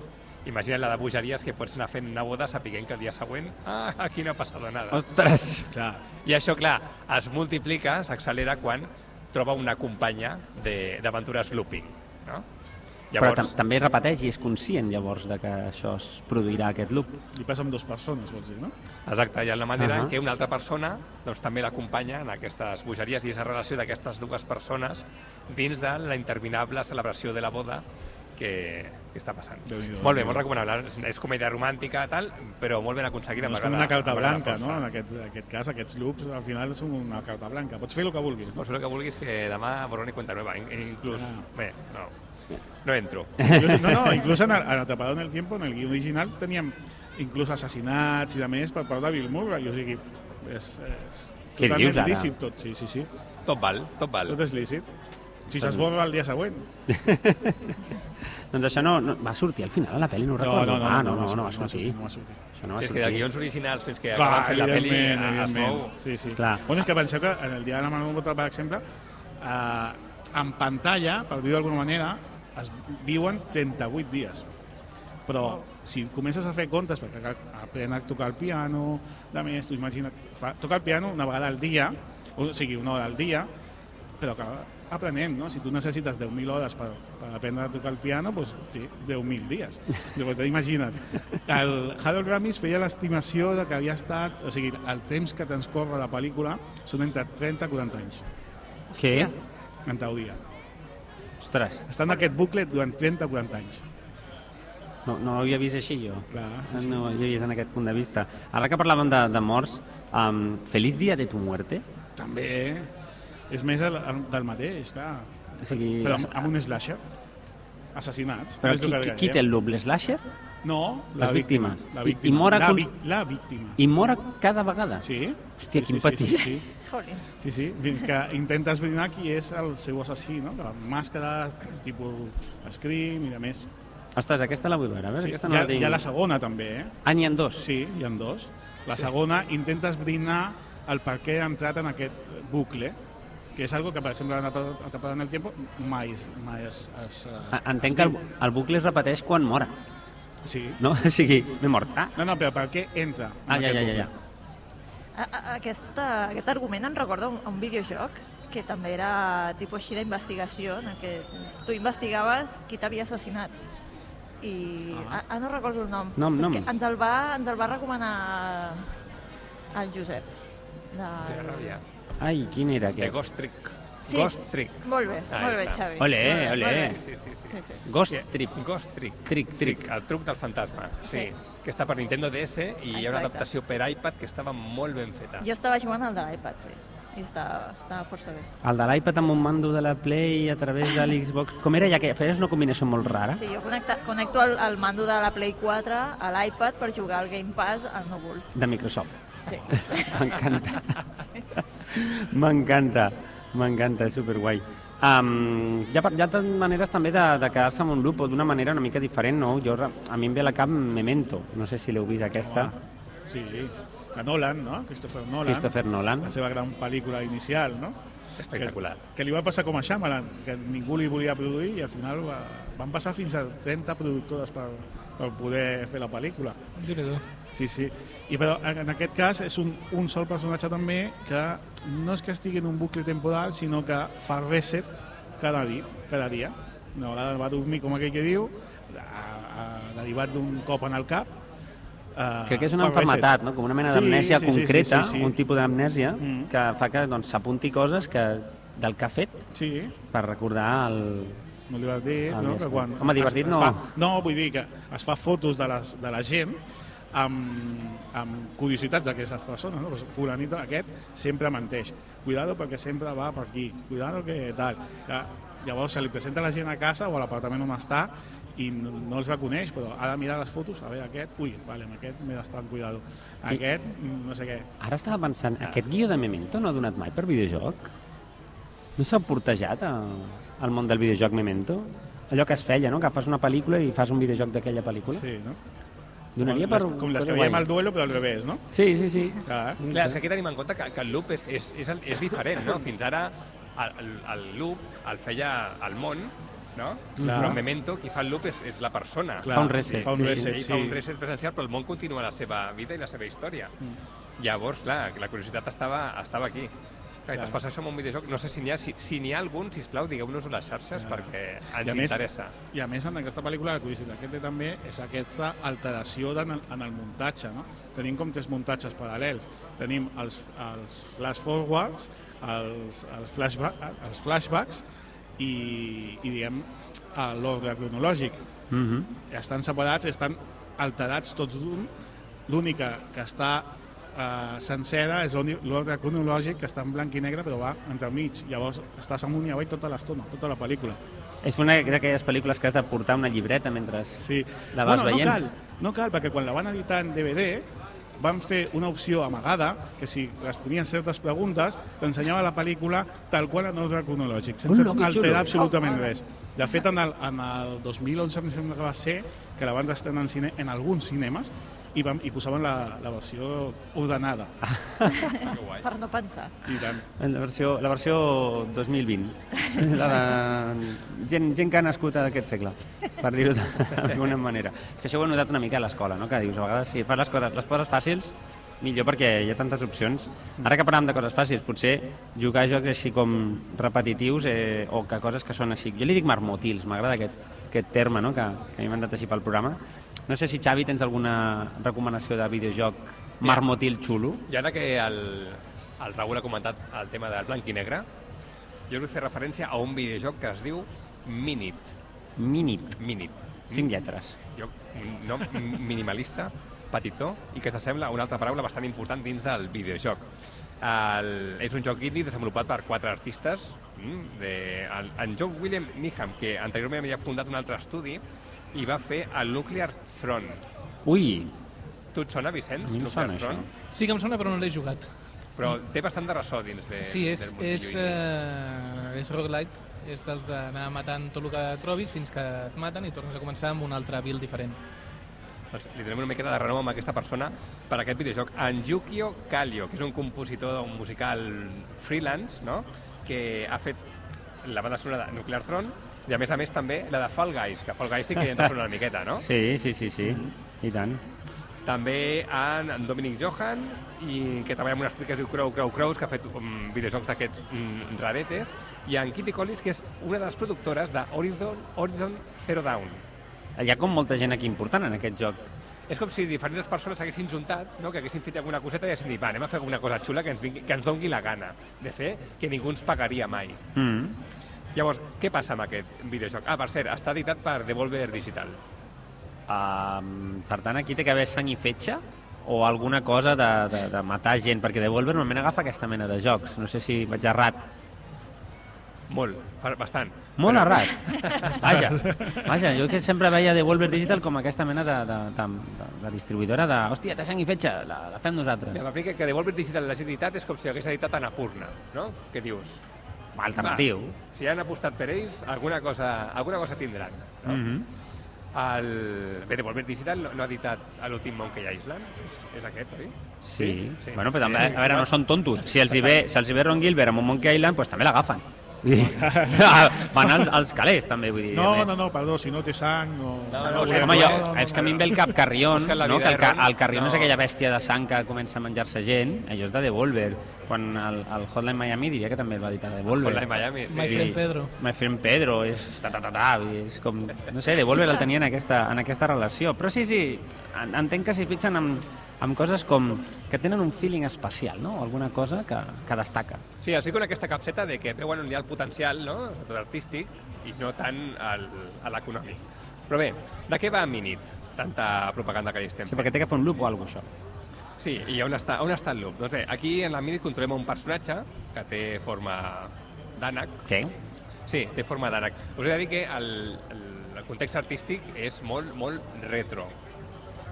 imagina't la de bogeries que pots anar fent una boda sapiguent que el dia següent, ah, aquí no ha passat nada.
Ostres!
Clar,
I això, clar, es multiplica, s'accelera quan troba una companya de- d'aventures looping, no?
Però tam també es repeteix i és conscient llavors de que això es produirà aquest loop.
i passa amb dues persones, vols dir, no?
Exacte, hi ha la manera uh -huh.
Ahà.
en què una altra persona doncs, també l'acompanya en aquestes bogeries i és la relació d'aquestes dues persones dins de la interminable celebració de la boda que, que està passant.
Déu-n'hi-do,
molt bé,
Déu-n'hi-do.
molt recomanable. És, és comèdia romàntica, tal, però molt ben aconseguida.
No és Doncs com
m'agrada-
una carta
m'agrada
blanca,
força.
no? En aquest, en aquest cas, aquests loops, al final, són una carta blanca. Pots fer el que vulguis, no?
Pues el que vulguis que demà borrón i cuenta nueva. In- Inclús...
Ah.
Bé, no. No entro.
Inclús- No, no, inclús en, en Atrapado en el Tiempo, en el guió original, teníem inclús assassinats i de més per part de Bill Murray, o sigui, és, és
Què
totalment
dius, ara?
lícit tot, sí, sí, sí,
Tot val, tot val.
tot és lícit. Si s'esborra el dia següent.
Doncs això no, no va sortir al final a la pel·li, no ho recordo. ah, no, no, no, va sortir.
No va sortir.
Això no va
Sí, és que
sortir.
de guions originals fins que
Clar,
acaben fent la pel·li
evidentment,
eh, es
evidentment.
mou.
Sí, sí.
Clar.
Bueno, és que penseu que en el dia de la Manu Botal, per exemple, eh, en pantalla, per dir-ho d'alguna manera, es viuen 38 dies. Però si comences a fer comptes, perquè cal- aprèn a tocar el piano, de més, tu imagina't, fa, toca el piano una vegada al dia, o sigui, una hora al dia, però que aprenent, no? Si tu necessites 10.000 hores per, per aprendre a tocar el piano, doncs té 10.000 dies. Llavors, imagina't. El Harold Ramis feia l'estimació de que havia estat... O sigui, el temps que transcorre la pel·lícula són entre 30 i 40 anys,
Què?
en teoria.
Ostres,
Està en aquest bucle durant 30 o 40 anys.
no, no ho havia vist així jo.
Clar, sí,
Això
sí.
No ho havia vist en aquest punt de vista. Ara que parlàvem de, de morts, um, Feliz Dia de tu muerte?
També és més el, el, del mateix, clar.
O sigui,
Però amb, amb un slasher. Assassinats.
però
És el
qui,
que
qui,
dèiem.
qui té el loop? L'Slasher?
No,
Les
la víctima.
víctimes.
La
I- i
víctima.
mor a
la,
cons-
vi- la víctima.
I mor cada vegada?
Sí.
Hòstia, quin
sí, sí,
patir.
Sí, sí, sí.
Jolín.
Sí, sí, fins que intenta esbrinar qui és el seu assassí, no? Que màscares, tipus Scream i de més.
Ostres, aquesta la vull veure. A veure,
Sí,
aquesta no
hi, ha,
la tinc.
hi ha la segona, també, eh?
Ah, n'hi ha dos.
Sí, hi ha dos. La segona intenta esbrinar el per què ha entrat en aquest bucle, que és algo que, per exemple, en Atrapado- Atrapado en el Tiempo mai, es- mai es, es, es,
A- Ah, Entenc que el, el bucle es repeteix quan mora,
Sí.
no? O sigui, m'he mort. Ah,
No, no, però per què entra en
ah ja,
aquest
ja, ja,
bucle?
ja.
A, a, aquesta, aquest argument em recorda un, un videojoc que també era tipus així d'investigació, en el que tu investigaves qui t'havia assassinat. I ah. ah, no recordo el nom.
Nom,
És
nom.
Que ens, el va, ens el va recomanar el Josep. De...
Quina ràbia.
Ai, quin era
De
aquest?
Ghost Trick.
Sí.
Ghost Trick.
Molt bé,
Ah,
molt bé,
està.
Xavi.
Olé,
Molt bé,
olé.
molt bé.
Sí, sí, sí. sí.
Sí, sí.
Ghost
Yeah.
Trip.
Ghost Trick.
Trick, trick.
El truc del fantasma, sí.
Sí.
Que està per Nintendo DS i hi ha una
Exacte.
adaptació per iPad que estava molt ben feta.
Jo estava jugant al de l'iPad, sí. I estava, estava força bé.
El de l'iPad amb un mando de la Play a través de l'Xbox... Com era ja que feies una combinació molt rara?
Sí, jo connecta, connecto el, el mando de la Play 4 a l'iPad per jugar al Game Pass al núvol.
De Microsoft.
Sí.
M'encanta. M'encanta. M'encanta, és superguai. Um, hi, ha, hi ha tant maneres també de, de quedar-se amb un loop o d'una manera una mica diferent, no? Jo, re- a mi em ve a la cap Memento, no sé si l'heu vist aquesta.
Ah, Sí, de Nolan, no? Christopher Nolan.
Christopher Nolan.
La seva gran pel·lícula inicial, no?
Espectacular.
Que, que li va passar com a Shyamalan, que ningú li volia produir i al final va, van passar fins a 30 productores per, per poder fer la pel·lícula.
Déu-n'hi-do.
Sí, sí. I però en en aquest cas és un, un sol personatge també que no és que estigui en un bucle temporal, sinó que fa reset cada dia. Cada dia. Una vegada va dormir, com aquell que diu, a, a, derivat d'un cop en el cap. eh,
Crec que és una
fa reset.
enfermetat, no? com una mena d'amnèsia concreta, un tipus d'amnèsia,
Mm.
que fa que doncs, s'apunti coses que, del que ha fet
Sí,
per recordar el...
no li vas dir,
Ah, ja
no? Que
està.
quan
Home, divertit
es, es
no.
Fa, no, vull dir que es fa fotos de, les, de la gent amb, amb curiositats d'aquestes persones, no? Pues fulanito aquest sempre menteix. Cuidado perquè sempre va per aquí. Cuidado que tal. Ja, llavors se li presenta la gent a casa o a l'apartament on està i no, no els reconeix, però ha de mirar les fotos, a veure aquest, ui, vale, amb aquest m'he d'estar amb cuidado. Aquest, mm, no sé què. Ah.
Ara estava pensant, aquest guió de Memento no ha donat mai per videojoc? No s'ha portejat a- al món del videojoc Memento? Allò que es feia, no? Que fas una pel·lícula i fas un videojoc d'aquella pel·lícula?
Sí, no?
Donaria
com,
per...
les, com
una
les que
cosa
veiem
guai.
al duelo, però al revés, no?
Sí, sí, sí.
Clar.
Clar, és que aquí tenim en compte que, que el loop és, és, és, el- és diferent, no? Fins ara el, el, el loop el feia el món, no?
Clar.
Però en Memento, qui fa el loop és, és la persona.
Clar,
Fa un reset.
Fa un
Sí,
reset,
Ell
sí.
fa un reset presencial, però el món continua la seva vida i la seva història.
Mm.
Llavors, clar, la curiositat estava, estava aquí. Clar,
Clar.
i Doncs passa això amb un videojoc. No sé si n'hi ha, si, si n'hi ha algun, sisplau, digueu-nos a les xarxes
Clar.
perquè
Ah. I a
ens
més-
interessa.
I a més, en aquesta pel·lícula, la curiositat que té també és aquesta alteració en el, en el muntatge. No? Tenim com tres muntatges paral·lels. Tenim els, els flash forwards, els, els, flashba els flashbacks i, i diguem, eh, l'ordre cronològic.
Mhm.
Estan separats, estan alterats tots d'un. L'única que està eh, sencera és l'únic- l'ordre cronològic que està en blanc i negre però va entremig. Llavors estàs amunt i avall tota l'estona, tota la pel·lícula.
És una d'aquelles pel·lícules que has de portar una llibreta mentre...
Sí.
La vas
bueno,
veient?
No cal, no cal, perquè quan la van editar en DVD van fer una opció amagada que si responies certes preguntes t'ensenyava la pel·lícula tal qual en ordre cronològic, sense
Hola, que xulo.
alterar absolutament res. De fet, en el, en el 2011 em sembla que va ser que la van estrenar en, cine, en alguns cinemes i, van, i posaven la, la versió ordenada.
Ah, Que guai.
Per no pensar.
I tant.
En La versió, la versió 2020. La de... gent, gent que ha nascut en aquest segle, per dir-ho d'alguna manera. És que això ho he notat una mica a l'escola, no? que dius, a vegades si fas les coses, les coses fàcils, millor perquè hi ha tantes opcions. Ara que parlàvem de coses fàcils, potser jugar a jocs així com repetitius eh, o que coses que són així... Jo li dic marmotils, m'agrada aquest, aquest terme no? que, que a mi m'ha anat així pel programa. No sé si, Xavi, tens alguna recomanació de videojoc marmotil xulo?
I ara que el, el Raül ha comentat el tema del blanc i negre, jo us vull fer referència a un videojoc que es diu Minit.
Minit.
Minit.
Cinc lletres.
Jo, un nom minimalista, petitó, i que s'assembla a una altra paraula bastant important dins del videojoc. El, és un joc indie desenvolupat per quatre artistes, mm, de, el, en John William Needham, que anteriorment havia fundat un altre estudi, i va fer el Nuclear Throne.
Ui,
Tu et sona, Vicenç?
A mi em
Nuclear
sona,
Throne?
Sí que em sona, però no l'he jugat.
Però té bastant de ressò dins de,
Sí, és,
del mundillo
és,
indie.
eh, és roguelite, és dels d'anar matant tot el que trobis fins que et maten i tornes a començar amb un altre build diferent.
Doncs li donem una miqueta de renom amb aquesta persona per aquest videojoc. En Yukio Kallio, que és un compositor d'un musical freelance, no? que ha fet la banda sonora de Nuclear Throne i a més a més també la de Fall Guys, que Fall Guys sí que ja ens sona una miqueta, no?
Sí, sí, sí, sí. I tant.
També en, en Dominic Johan, i que treballa amb un estudi que es diu Crow Crow Crows, que ha fet um, videojocs d'aquests um, raretes, i en Kitty Collins, que és una de les productores de Horizon, Horizon Zero Dawn,
Hi ha com molta gent aquí important en aquest joc.
És com si diferents persones s'haguessin juntat, no? que haguessin fet alguna coseta i haguessin dit, va, anem a fer alguna cosa xula que ens, vingui, que ens dongui la gana de fer, que ningú ens pagaria mai.
Mm.
Llavors, què passa amb aquest videojoc? Ah, per cert, està editat per Devolver Digital.
Um, per tant, aquí té que haver sang i fetge o alguna cosa de, de, de matar gent, perquè Devolver normalment agafa aquesta mena de jocs. No sé si vaig errat.
Molt, fa- bastant.
Molt errat. Vaja, vaja, jo que sempre veia Devolver Digital com aquesta mena de, de, de, de, de distribuïdora de... Hòstia, té sang i fetge, la, la fem
Ja
nosaltres.
m'aplica que Devolver Digital l'hagi editat és com si hagués editat Anapurna, no? Què dius?
Alternatiu.
Va, si han apostat per ells, alguna cosa, alguna cosa tindran. No?
Mhm.
El... Bé, Devolver Digital no, no ha editat a l'últim Monkey Island, és, és aquest, oi?
Sí. sí. Bueno, però també,
Eh,
a veure, no són tontos. Si els hi ve, si els hi ve Ron Gilbert amb un Monkey Island, doncs també l'agafen. I- Van als, als calés, també, vull dir.
No, no, no, perdó, si no té sang no...
No,
No,
no,
home,
volem-
jo,
no, no, no,
és que a mi em ve el cap Carrion,
És que la
no?
vida
que el,
de
ca-
Ron-
el Carrion és
no.
aquella bèstia de sang que comença a menjar-se gent, allò és de Devolver. Quan el, el Hotline Miami diria que també el va editar Devolver.
Hotline Miami, sí.
My
Vull
friend
dir,
Pedro.
My friend Pedro, és ta, ta, ta, ta, vull dir, és com... No sé, Devolver el tenia en aquesta, en aquesta relació. Però sí, sí, en- entenc que s'hi fixen amb, amb coses com que tenen un feeling especial, no? Alguna cosa que, que destaca.
Sí, així con aquesta capseta de que veuen on hi ha el potencial, no? sobretot artístic, i no tant el, a l'econòmic. Però bé, de què va Minit? Tanta propaganda que hi estem.
Sí, perquè té que fer un loop o alguna cosa, això.
Sí, i on està, on està el loop? Doncs bé, aquí en la Minit controlem un personatge que té forma d'ànec.
Què?
Sí, té forma d'ànec. Us he de dir que el, el, el context artístic és molt, molt retro.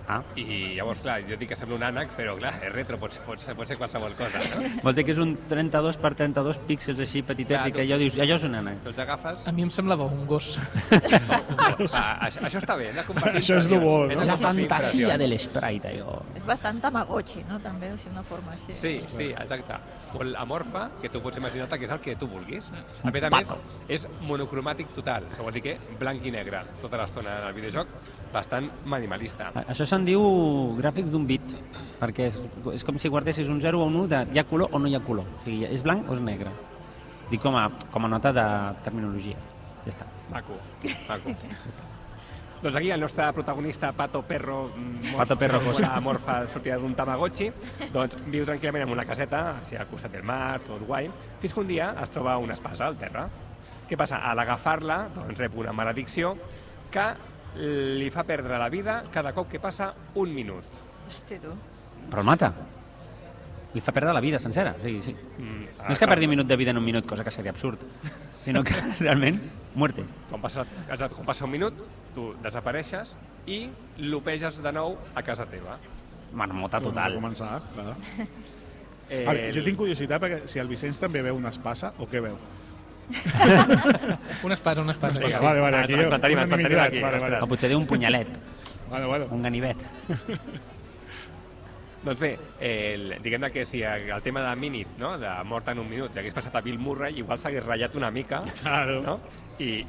Ah.
I llavors, clar, jo dic que sembla un ànec, però clar, és retro, pot ser, pot ser, pot ser qualsevol cosa, no?
Vols dir que és un 32 per 32 píxels així petitets
Clar,
i que
tu-
allò dius, allò és un ànec.
Tu els agafes...
A mi em semblava un gos.
Ah, això, això està bé, hem de compartir
Això és lo
impressions,
bo,
hem de
no?
La
compartir
fantasia
impressions.
de l'esprite, allò.
És bastant tamagotxi, no? També, o sigui, una forma així.
Sí, sí, exacte. O l'amorfa, que tu pots imaginar-te que és el que tu vulguis. A més a més, és monocromàtic total, això vol dir que blanc i negre, tota l'estona en el videojoc, bastant minimalista.
A- Això se'n diu gràfics d'un bit, perquè és, és com si guardessis un 0 o un 1 de hi ha color o no hi ha color. O sigui, és blanc o és negre. Dic com a, com a nota de terminologia. Ja està.
Maco, maco. Doncs aquí el nostre protagonista, Pato Perro, mm,
Pato Perro
morf-
Cosa.
morfa sortida d'un Tamagotchi, doncs viu tranquil·lament en una caseta, així al costat del mar, tot guai, fins que un dia es troba una espasa al terra. Què passa? A l'agafar-la, doncs rep una maledicció que li fa perdre la vida cada cop que passa un minut.
Hosti, tu.
Però el mata. Li fa perdre la vida sencera. O sigui, sí.
Mm,
Ah,
No és que perdi un minut de vida en un minut, cosa que seria absurd, sinó que realment, muerte.
Quan passa, exacte, quan passa un minut, tu desapareixes i l'opeges de nou a casa teva.
Marmota
Doncs
total.
a Començar, clar.
Eh,
A veure, jo tinc curiositat perquè si el Vicenç també veu una espasa, o què veu?
Una espasa, una espasa.
Vinga,
Sí.
vale, vale,
Ah,
aquí
ens
jo-
mantenim, ens mantenim
unanimitat,
aquí,
vale, vale.
O
ostres.
potser diu un punyalet,
Bueno, bueno.
un ganivet.
Doncs bé, eh, el- diguem-ne que si el tema de Minit, no? de mort en un minut, hagués passat a Bill Murray, igual s'hagués ratllat una mica,
Claro.
no? i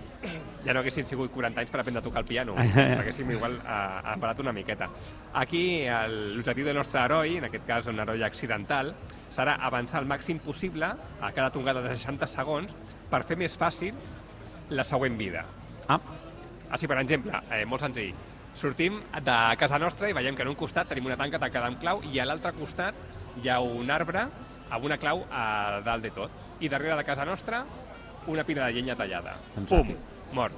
ja no haguessin sigut 40 anys per aprendre a tocar el piano, haguéssim igual eh, parat una miqueta. Aquí el- l'objectiu del nostre heroi, en aquest cas un heroi accidental, serà avançar el màxim possible a cada tongada de 60 segons per fer més fàcil la següent vida.
Ah,
Així, per exemple, eh, molt senzill. Sortim de casa nostra i veiem que en un costat tenim una tanca tancada amb clau i a l'altre costat hi ha un arbre amb una clau eh, a dalt de tot. I darrere de casa nostra, una pila de llenya tallada.
Doncs
Pum!
ràpid.
Mort.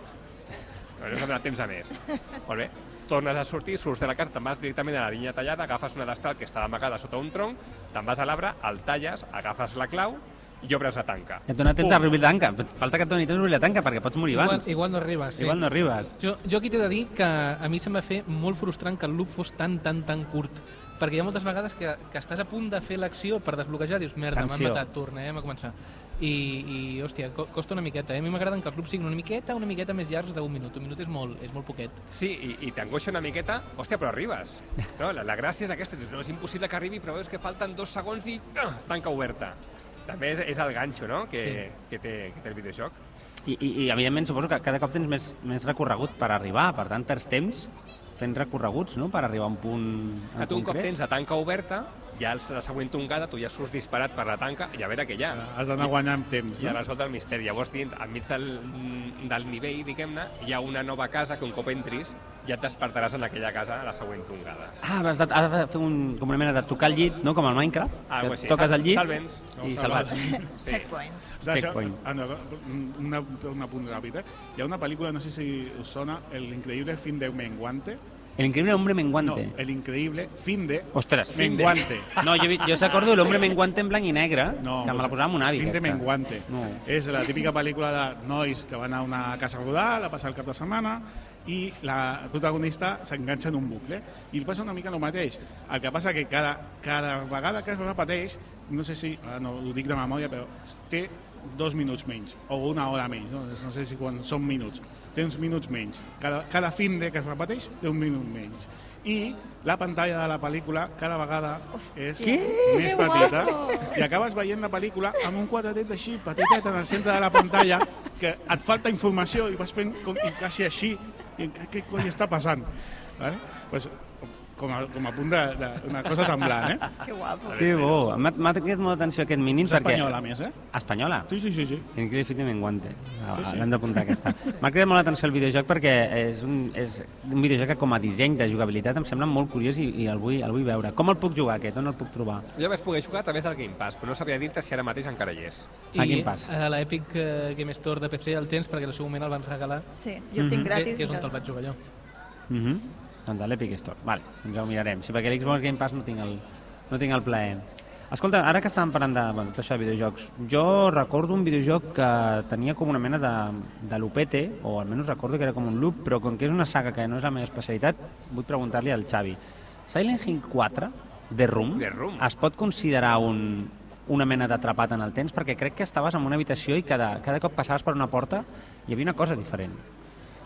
No ens ha donat temps a més. Molt bé. Tornes a sortir, surts de la casa, te'n vas directament a la llenya tallada, agafes una destral que estava amagada sota un tronc, te'n vas a l'arbre, el talles, agafes la clau i obres la tanca.
et dona temps a
Pum!
obrir la tanca. Falta que et doni temps a obrir la tanca perquè pots morir
Igual,
abans.
igual no arribes. Sí.
Igual no arribes.
Jo, jo aquí t'he de dir que a mi se'm va fer molt frustrant que el loop fos tan, tan, tan curt. Perquè hi ha moltes vegades que, que estàs a punt de fer l'acció per desbloquejar, dius, merda, m'han
Tensió.
matat, tornem a començar. I, i hòstia, co- costa una miqueta. Eh? A mi m'agraden que els loops siguin una miqueta, una miqueta més llargs d'un minut. Un minut és molt, és molt poquet.
Sí, i, i t'angoixa una miqueta, hòstia, però arribes. No? La, la gràcia és aquesta, dius, no, és impossible que arribi, però veus que falten dos segons i ah, tanca oberta. També és, és el ganxo no? que, sí. que, té, que té el videojoc.
I, i, I, evidentment, suposo que cada cop tens més, més recorregut per arribar, per tant, perds temps fent recorreguts, no?, per arribar a un punt
Que tu un cop tens la tanca oberta, ja els- la següent tongada, tu ja surts disparat per la tanca i a veure què hi ha.
Ah, Has d'anar guanyant temps,
i ha
no?
resolt el misteri. Llavors, dins, enmig del, del nivell, diguem-ne, hi ha una nova casa que un cop entris ja et despertaràs en aquella casa a la següent tongada.
Ah, has de, has de fer un, com una mena de tocar el llit, no?, com el Minecraft,
Ah,
que
pues sí,
toques
sal-
el llit
salvens.
i
No,
salvat.
Sí. Checkpoint.
Saps això?
Checkpoint.
Ah, no, una, una punt ràpid, eh? Hi ha una pel·lícula, no sé si us sona, El increïble fin de Menguante.
El increïble hombre menguante.
No, El increïble fin de
Ostres,
Menguante.
No, jo, vi- jo s'acordo l'hombre menguante en blanc i negre,
No,
que me la
pues,
posava amb un avi.
Fin de
aquesta.
Menguante.
No.
És la típica pel·lícula de nois que van a una casa rural a passar el cap de setmana i la protagonista s'enganxa en un bucle. I li passa una mica el mateix. El que passa que cada, cada vegada que es repeteix, no sé si, ara no ho dic de memòria, però té dos minuts menys, o una hora menys, no, no sé si quan són minuts, té uns minuts menys. Cada, cada fin de que es repeteix té un minut menys. I la pantalla de la pel·lícula cada vegada és més
Que
petita
guapo!
i acabes veient la pel·lícula amb un quadratet així, petitet, en el centre de la pantalla, que et falta informació i vas fent com, i quasi així, i què, què coi està passant? Vale? Pues, com, a, com a punt de- de- d'una cosa semblant, eh?
Que guapo.
Que bo. M'ha m'ha cridat molt l'atenció aquest mínim
És
perquè...
espanyola, a més, eh?
Espanyola.
Sí, sí, sí, sí.
Increïble Fit en Guante.
Sí,
Sí,
sí.
sí. Ah, L'hem d'apuntar aquesta. M'ha cridat molt l'atenció el videojoc perquè és un, és un videojoc que com a disseny de jugabilitat em sembla molt curiós i, i el, vull, el vull veure. Com el puc jugar aquest? On el puc trobar?
Jo vaig poder jugar a través del Game Pass, però no sabia dir-te si ara mateix encara hi és.
A Game Pass.
I a l'Epic eh, Game Store de PC el tens perquè en el seu moment el van regalar,
Sí, jo el tinc
que,
gratis.
que
encara.
Mm-hmm. és on te'l vaig jugar jo.
Uh -huh. Doncs a l'Epic Store. Vale, ens ho mirarem. Sí, perquè l'Xbox Game Pass no tinc el, no tinc el plaer. Escolta, ara que estàvem parlant de, bueno, tot això de videojocs, jo recordo un videojoc que tenia com una mena de, de lupete, o almenys recordo que era com un loop, però com que és una saga que no és la meva especialitat, vull preguntar-li al Xavi. Silent Hill 4, The Room,
The Room.
es pot considerar un, una mena d'atrapat en el temps? Perquè crec que estaves en una habitació i cada, cada cop passaves per una porta hi havia una cosa diferent.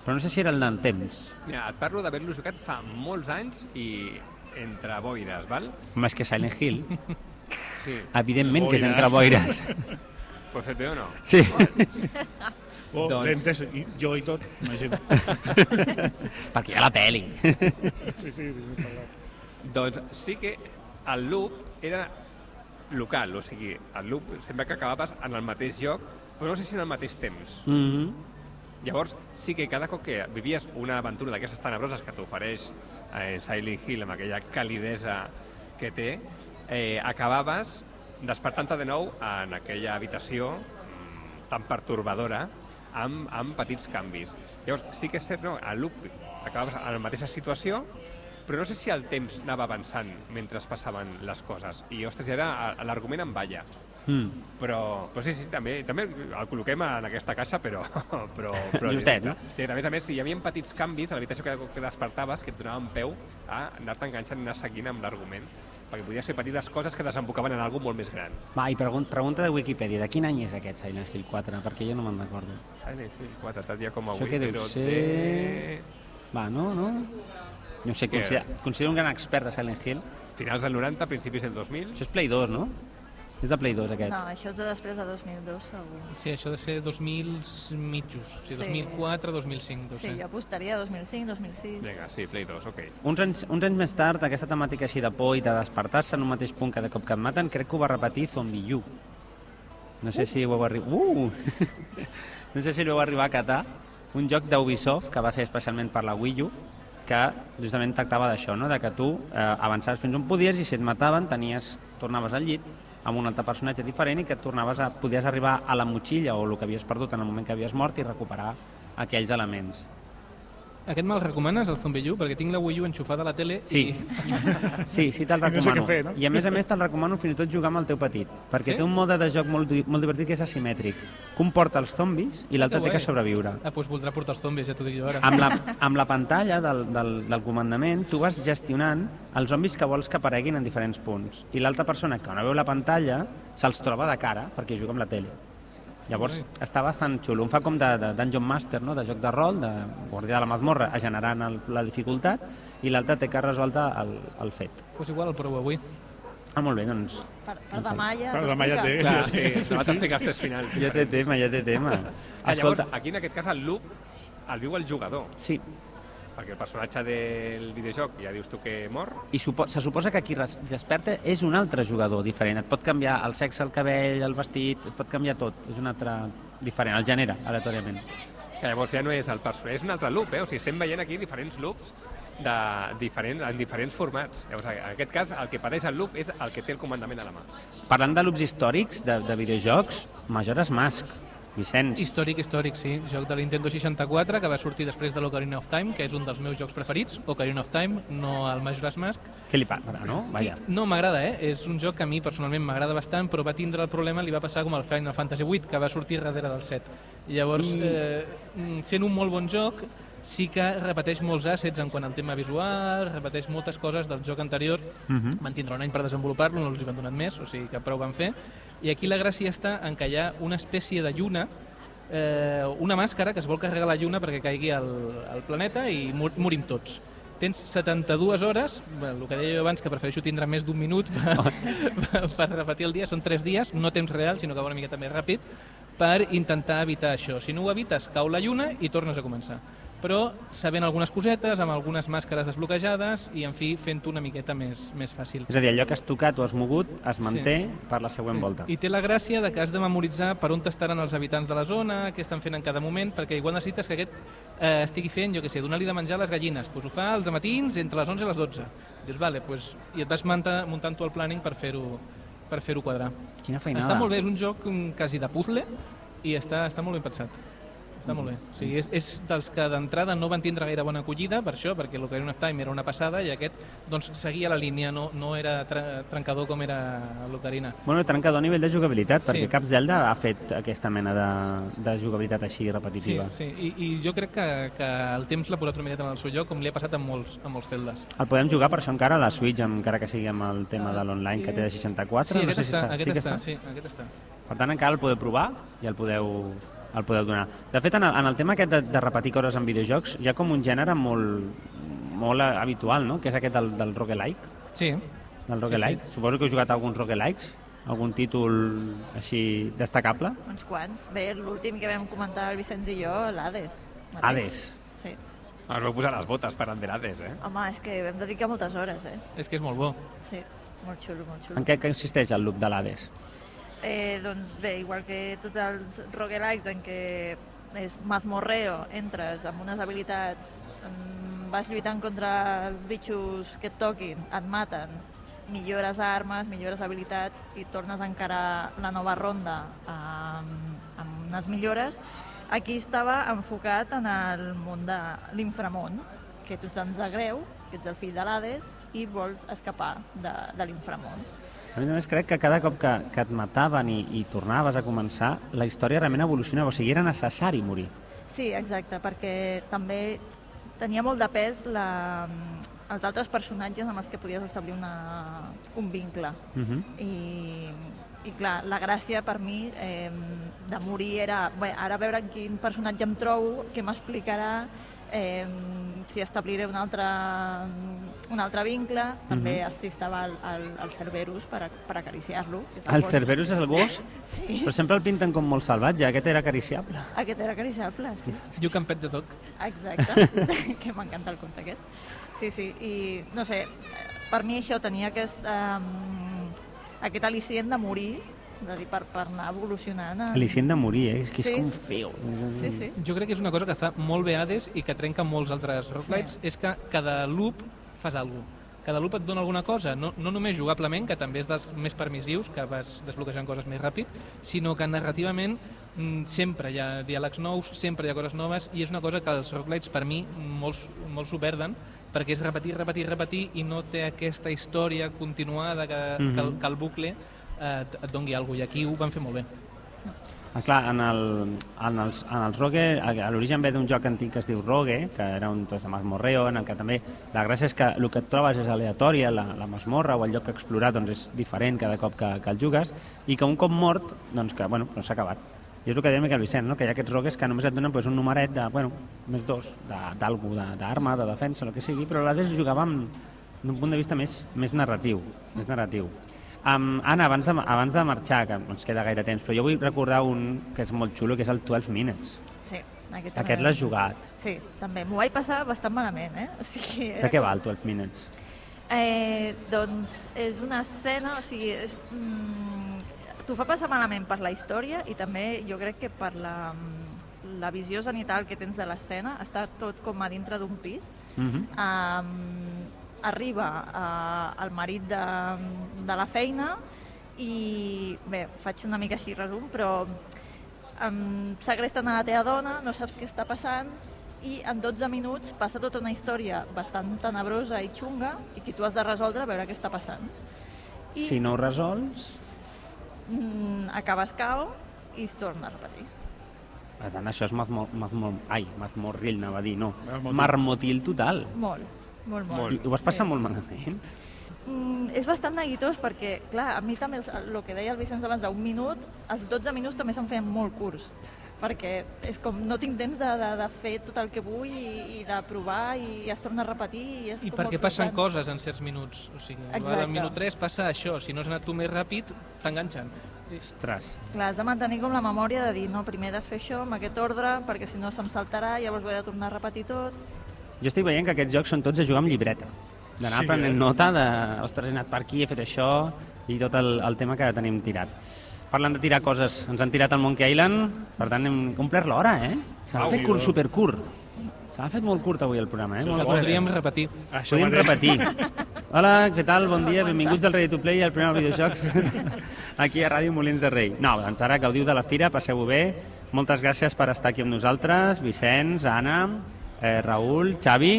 Però no sé si era el del temps.
Mira, et parlo d'haver-lo jugat fa molts anys i entre boires, val?
Home, és que Silent Hill,
Sí.
evidentment que és entre boires.
Pues fet bé o no?
Sí.
O
Doncs-
doncs... lentes, i, jo i tot, imagino.
Perquè hi ha la peli.
sí, sí, sí, parlat.
Doncs sí que el loop era local, o sigui, el loop sempre que acabaves en el mateix lloc, però no sé si en el mateix temps.
Mm -hmm.
Llavors, sí que cada cop que vivies una aventura d'aquestes tenebroses que t'ofereix eh, Silent Hill amb aquella calidesa que té, eh, acabaves despertant-te de nou en aquella habitació mm, tan pertorbadora amb, amb petits canvis. Llavors, sí que és cert, no? El loop acabaves en la mateixa situació, però no sé si el temps anava avançant mentre es passaven les coses. I, ostres, ja era a- l'argument en balla.
Mm.
Però, però sí, sí, també, també el col·loquem en aquesta caixa, però... però, però eh?
Justet, no?
Sí, a més a més, hi havia petits canvis a l'habitació que, que despertaves que et donaven peu a anar-te enganxant, anar seguint amb l'argument, perquè podies fer petites coses que desembocaven en alguna molt més gran.
Va, i pregun pregunta de Wikipedia, de quin any és aquest Silent Hill 4? Perquè jo no me'n recordo.
Silent Hill 4, tal dia com
Això
avui,
què deu
però
ser? Va, no, no? No sé,
Què?
considera, considero un gran expert de Silent Hill.
de finals del 90, principis del 2000.
Això és Play 2, no? És de Play 2, aquest.
No, això és de després de 2002, segur.
Sí, això ha de ser 2000 mitjos, o
Sí.
sigui, 2004, 2005, deu
Sí,
ser.
jo apostaria a 2005, 2006.
Vinga, sí, Play 2, ok.
Uns anys, uns anys més tard, aquesta temàtica així de por i de despertar-se en un mateix punt cada cop que et maten, crec que ho va repetir Zombie U. No sé si ho heu arribat... Uh! no sé si ho heu arribat a catar. Un joc d'Ubisoft que va fer especialment per la Wii U, que justament tractava d'això, no? de que tu eh, avançaves fins on podies i si et mataven tenies, tornaves al llit amb un altre personatge diferent i que et tornaves a, podies arribar a la motxilla o el que havies perdut en el moment que havies mort i recuperar aquells elements.
Aquest me'l recomanes, el Zombie U? Perquè tinc la Wii U enxufada a la tele
Sí.
i...
Sí, sí, te'l
I no sé
recomano.
què fer, no?
I a més a més te'l recomano fins i tot jugar amb el teu petit, perquè
Sí?
té un mode de joc molt, di- molt divertit que és asimètric. Que un porta els zombis i l'altre
Que
té que
guai.
sobreviure.
Ah, doncs voldrà portar els zombis, ja t'ho dic jo ara.
Amb la, amb la pantalla del, del, del comandament tu vas gestionant els zombis que vols que apareguin en diferents punts i l'altra persona que no veu la pantalla se'ls troba de cara perquè juga amb la tele. Llavors està bastant xulo, un fa com de, de Dungeon Master, no? de joc de rol, de guardià de la mazmorra, generant el, la dificultat i l'altre té que resoldre el, el fet.
Pues igual el provo avui.
Ah, molt bé, doncs
Per, per demà ja
Per demà ja
t'explica.
té.
Clar, sí, no t'explicar els tres finals.
Ja té tema, ja té tema.
Ah, llavors,
Escolta,
aquí en aquest cas el loop el viu el jugador,
sí,
perquè el personatge del videojoc ja dius tu que mor,
i supo se suposa que qui res- desperta és un altre jugador diferent. Et pot canviar el sexe, el cabell, el vestit, et pot canviar tot. És un altre diferent, el genera aleatòriament.
Que llavors ja no és el personatge, és un altre loop, eh? O sigui, estem veient aquí diferents loops de diferents, en diferents formats. Llavors, en aquest cas, el que pateix el loop és el que té el comandament a la mà.
Parlant de loops històrics, de, de videojocs, Majora's Mask, Vicenç.
Històric, històric, sí. Joc de la Nintendo 64, que va sortir després de l'Ocarina of Time, que és un dels meus jocs preferits. Ocarina of Time, no el Majora's Mask.
Què li passa, no? Vaja.
No m'agrada, eh? És un joc que a mi personalment m'agrada bastant, però va tindre el problema, li va passar com al Final Fantasy VIII, que va sortir darrere del 7. Llavors, eh, mm, sent un molt bon joc, sí que repeteix molts assets en quant al tema visual, repeteix moltes coses del joc anterior. Van tindre un any per desenvolupar-lo, no els hi van donat més, o sigui que prou van fer. I aquí la gràcia està en que hi ha una espècie de lluna eh, una màscara que es vol carregar la lluna perquè caigui al, al planeta i mor morim tots. Tens 72 hores, bé, el que deia jo abans, que prefereixo tindre més d'un minut per, per repetir el dia, són 3 dies, no temps real, sinó que va una miqueta més ràpid, per intentar evitar això. Si no ho evites, cau la lluna i tornes a començar. Però sabent algunes cosetes, amb algunes màscares desbloquejades i, en fi, fent-ho una miqueta més, més fàcil.
És a dir, allò que has tocat o has mogut es manté per la següent volta.
I té la gràcia de que has de memoritzar per on estaran els habitants de la zona, què estan fent en cada moment, perquè igual necessites que aquest eh, estigui fent, jo què sé, donar-li de menjar a les gallines. Pues ho fa als matins entre les 11 i les 12. Dius, vale, pues, i et vas manta, muntant tu el planning per fer-ho per fer-ho quadrar.
Quina feinada.
Està molt bé, és un joc mm, quasi de puzzle i està, està molt ben pensat. Està molt bé.
Doncs,
O sigui, és, és dels que d'entrada no van tindre gaire bona acollida, per això, perquè l'Ocarina of Time era una passada i aquest doncs, seguia la línia, no, no era tre- trencador com era l'Ocarina.
Bueno, trencador a nivell de jugabilitat,
Sí.
perquè cap Zelda ha fet aquesta mena de, de jugabilitat així repetitiva.
Sí, sí. I, I jo crec que, que el temps l'ha posat una miqueta en el seu lloc, com li ha passat amb molts, amb molts Zeldas.
El podem jugar per això encara a la Switch, encara que sigui amb el tema de l'online que té de 64.
sí,
no
aquest
sé si
està,
està. Ah,
aquest
sí que
està,
està.
sí, aquest està.
Per tant, encara el podeu provar i el podeu, el podeu donar. De fet, en el, en el tema aquest de, de repetir coses en videojocs, hi ha com un gènere molt, molt eh, habitual, no? que és aquest del, del roguelike.
Sí,
Del roguelike. Sí, sí. Suposo que heu jugat a alguns roguelikes, algun títol així destacable.
Uns quants. Bé, l'últim que vam comentar el Vicenç i jo, l'Hades. mateix.
Hades.
Sí.
Es vau posar les botes per Anderades, eh?
Home, és que vam dedicar moltes hores, eh?
és que és molt bo.
Sí, molt xulo, molt xulo.
En què consisteix el loop de l'Hades?
Eh, doncs bé, igual que tots els roguelikes en què és mazmorreo, entres amb unes habilitats, mm, vas lluitant contra els bitxos que et toquin, et maten, millores armes, millores habilitats i tornes a encarar la nova ronda amb, amb unes millores. Aquí estava enfocat en el món de l'inframón, que tu ets en Zagreu, que ets el fill de l'Hades i vols escapar de, de l'inframón.
A més a més, crec que cada cop que, que et mataven i, i tornaves a començar, la història realment evolucionava, o sigui, era necessari morir.
Sí, exacte, perquè també tenia molt de pes la, els altres personatges amb els que podies establir una, un vincle.
Uh -huh.
I, i clar, la gràcia per mi eh, de morir era bé, ara veure en quin personatge em trobo, què m'explicarà, eh, si establiré un altre, un altre vincle. També assistava al, al, al Cerberus per, a- per acariciar-lo. que és
El
gos.
Cerberus és el gos,
Sí,
però sempre el pinten com molt salvatge, aquest era acariciable.
aquest era acariciable, sí.
Jo campet de toc.
Exacte, que m'encanta el conte aquest. Sí, sí, i no sé, per mi això tenia aquest, um, aquest al·licient de morir, de dir, per, per anar evolucionant. En...
Al·licient de morir, eh? és que és
Sí.
com feo.
Sí, sí.
Jo crec que és una cosa que fa molt bé Hades i que trenca molts altres roguelites, és que cada loop fas alguna cosa. Cada loop et dona alguna cosa, no, no només jugablement, que també és dels més permissius, que vas desbloquejant coses més ràpid, sinó que narrativament mm, sempre hi ha diàlegs nous, sempre hi ha coses noves, i és una cosa que els roguelites per mi molts, molts ho perden, perquè és repetir, repetir, repetir, i no té aquesta història continuada que, mm -hmm. que, el, que el bucle eh, et- et doni alguna cosa, i aquí ho van fer molt bé.
Ah, clar, en, el, en, els, en els Rogue, a a l'origen ve d'un joc antic que es diu Rogue, que era un tros de mazmorreo, en el que també la gràcia és que el que et trobes és aleatòria, la, la masmorra o el lloc que explorar doncs és diferent cada cop que, que el jugues, i que un cop mort, doncs que, bueno, no s'ha acabat. I és el que deia Miquel Vicent, no? que hi ha aquests rogues que només et donen doncs, un numeret de, bueno, més dos, de- d'algú, de- d'arma, de, de defensa, el que sigui, però l'Hades jugava amb, d'un punt de vista més, més narratiu. Més narratiu. Um, Anna, abans de, abans de marxar, que no ens queda gaire temps, però jo vull recordar un que és molt xulo, que és el 12 Minutes.
sí aquest,
Aquest
també.
l'has jugat.
Sí, també. M'ho vaig passar bastant malament, eh? O sigui,
De què va el 12 Minutes?
Eh, doncs és una escena, o sigui, és, mm, t'ho fa passar malament per la història i també jo crec que per la, mm, la visió zenital que tens de l'escena, està tot com a dintre d'un pis.
Uh -huh.
Um, arriba uh, el marit de, de la feina i, bé, faig una mica així resum, però um, segresten a la teva dona, no saps què està passant, i en 12 minuts passa tota una història bastant tenebrosa i xunga i que tu has de resoldre a veure què està passant. I
Si no ho resols...
mm, acabes cau i es torna a repetir.
Per tant, això és mazmor... mazmor ai, mazmorril, anava a dir, no.
Marmotil.
Marmotil total.
Molt, molt, molt.
I, ho vas passar molt malament.
Mm, és bastant neguitós perquè, clar, a mi també el que deia el Vicenç abans d'un minut, els 12 minuts també se'n feien molt curts perquè és com no tinc temps de, de, de fer tot el que vull i, i de provar i, es torna a repetir i és
I
com
perquè
molt
passen
frustrant.
coses en certs minuts. O sigui,
Exacte.
al minut 3 passa això, si no has anat tu més ràpid, t'enganxen.
Ostres.
Clar, has de mantenir com la memòria de dir, no, primer he de fer això amb aquest ordre perquè si no se'm saltarà, llavors ho he de tornar a repetir tot
Jo estic veient que aquests jocs són tots de jugar amb llibreta. D'anar
Sí,
sí, prenent
eh?
nota de, ostres, he anat per aquí, he fet això, i tot el, el tema que tenim tirat. Parlant de tirar coses, ens han tirat al Monkey Island, per tant hem complert l'hora, eh? Se l'ha
Au,
fet curt,
jo.
supercurt. Se l'ha fet molt curt avui el programa, eh?
Molt
Molt
la
curt.
podríem repetir.
Això
Podríem
mateix.
repetir. Hola, què tal? Bon dia, benvinguts al Ready to Play, el primer videojocs aquí a Ràdio Molins de Rei. No, doncs ara gaudiu de la fira, passeu-ho bé, Moltes gràcies per estar aquí amb nosaltres, Vicenç, Anna, eh, Raül, Xavi,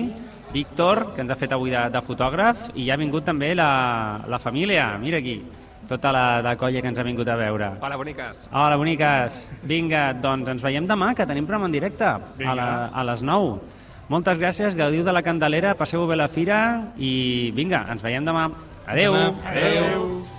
Víctor, que ens ha fet avui de, de fotògraf, i ja ha vingut també la, la família, mira aquí, tota la, la colla que ens ha vingut a veure.
Hola, boniques.
Hola, boniques. Vinga, doncs ens veiem demà, que tenim programa en directe a, la, a les 9. Moltes gràcies, gaudiu de la Candelera, passeu bé la fira i vinga, ens veiem demà. Adeu.
Demà.
Adéu. Adéu.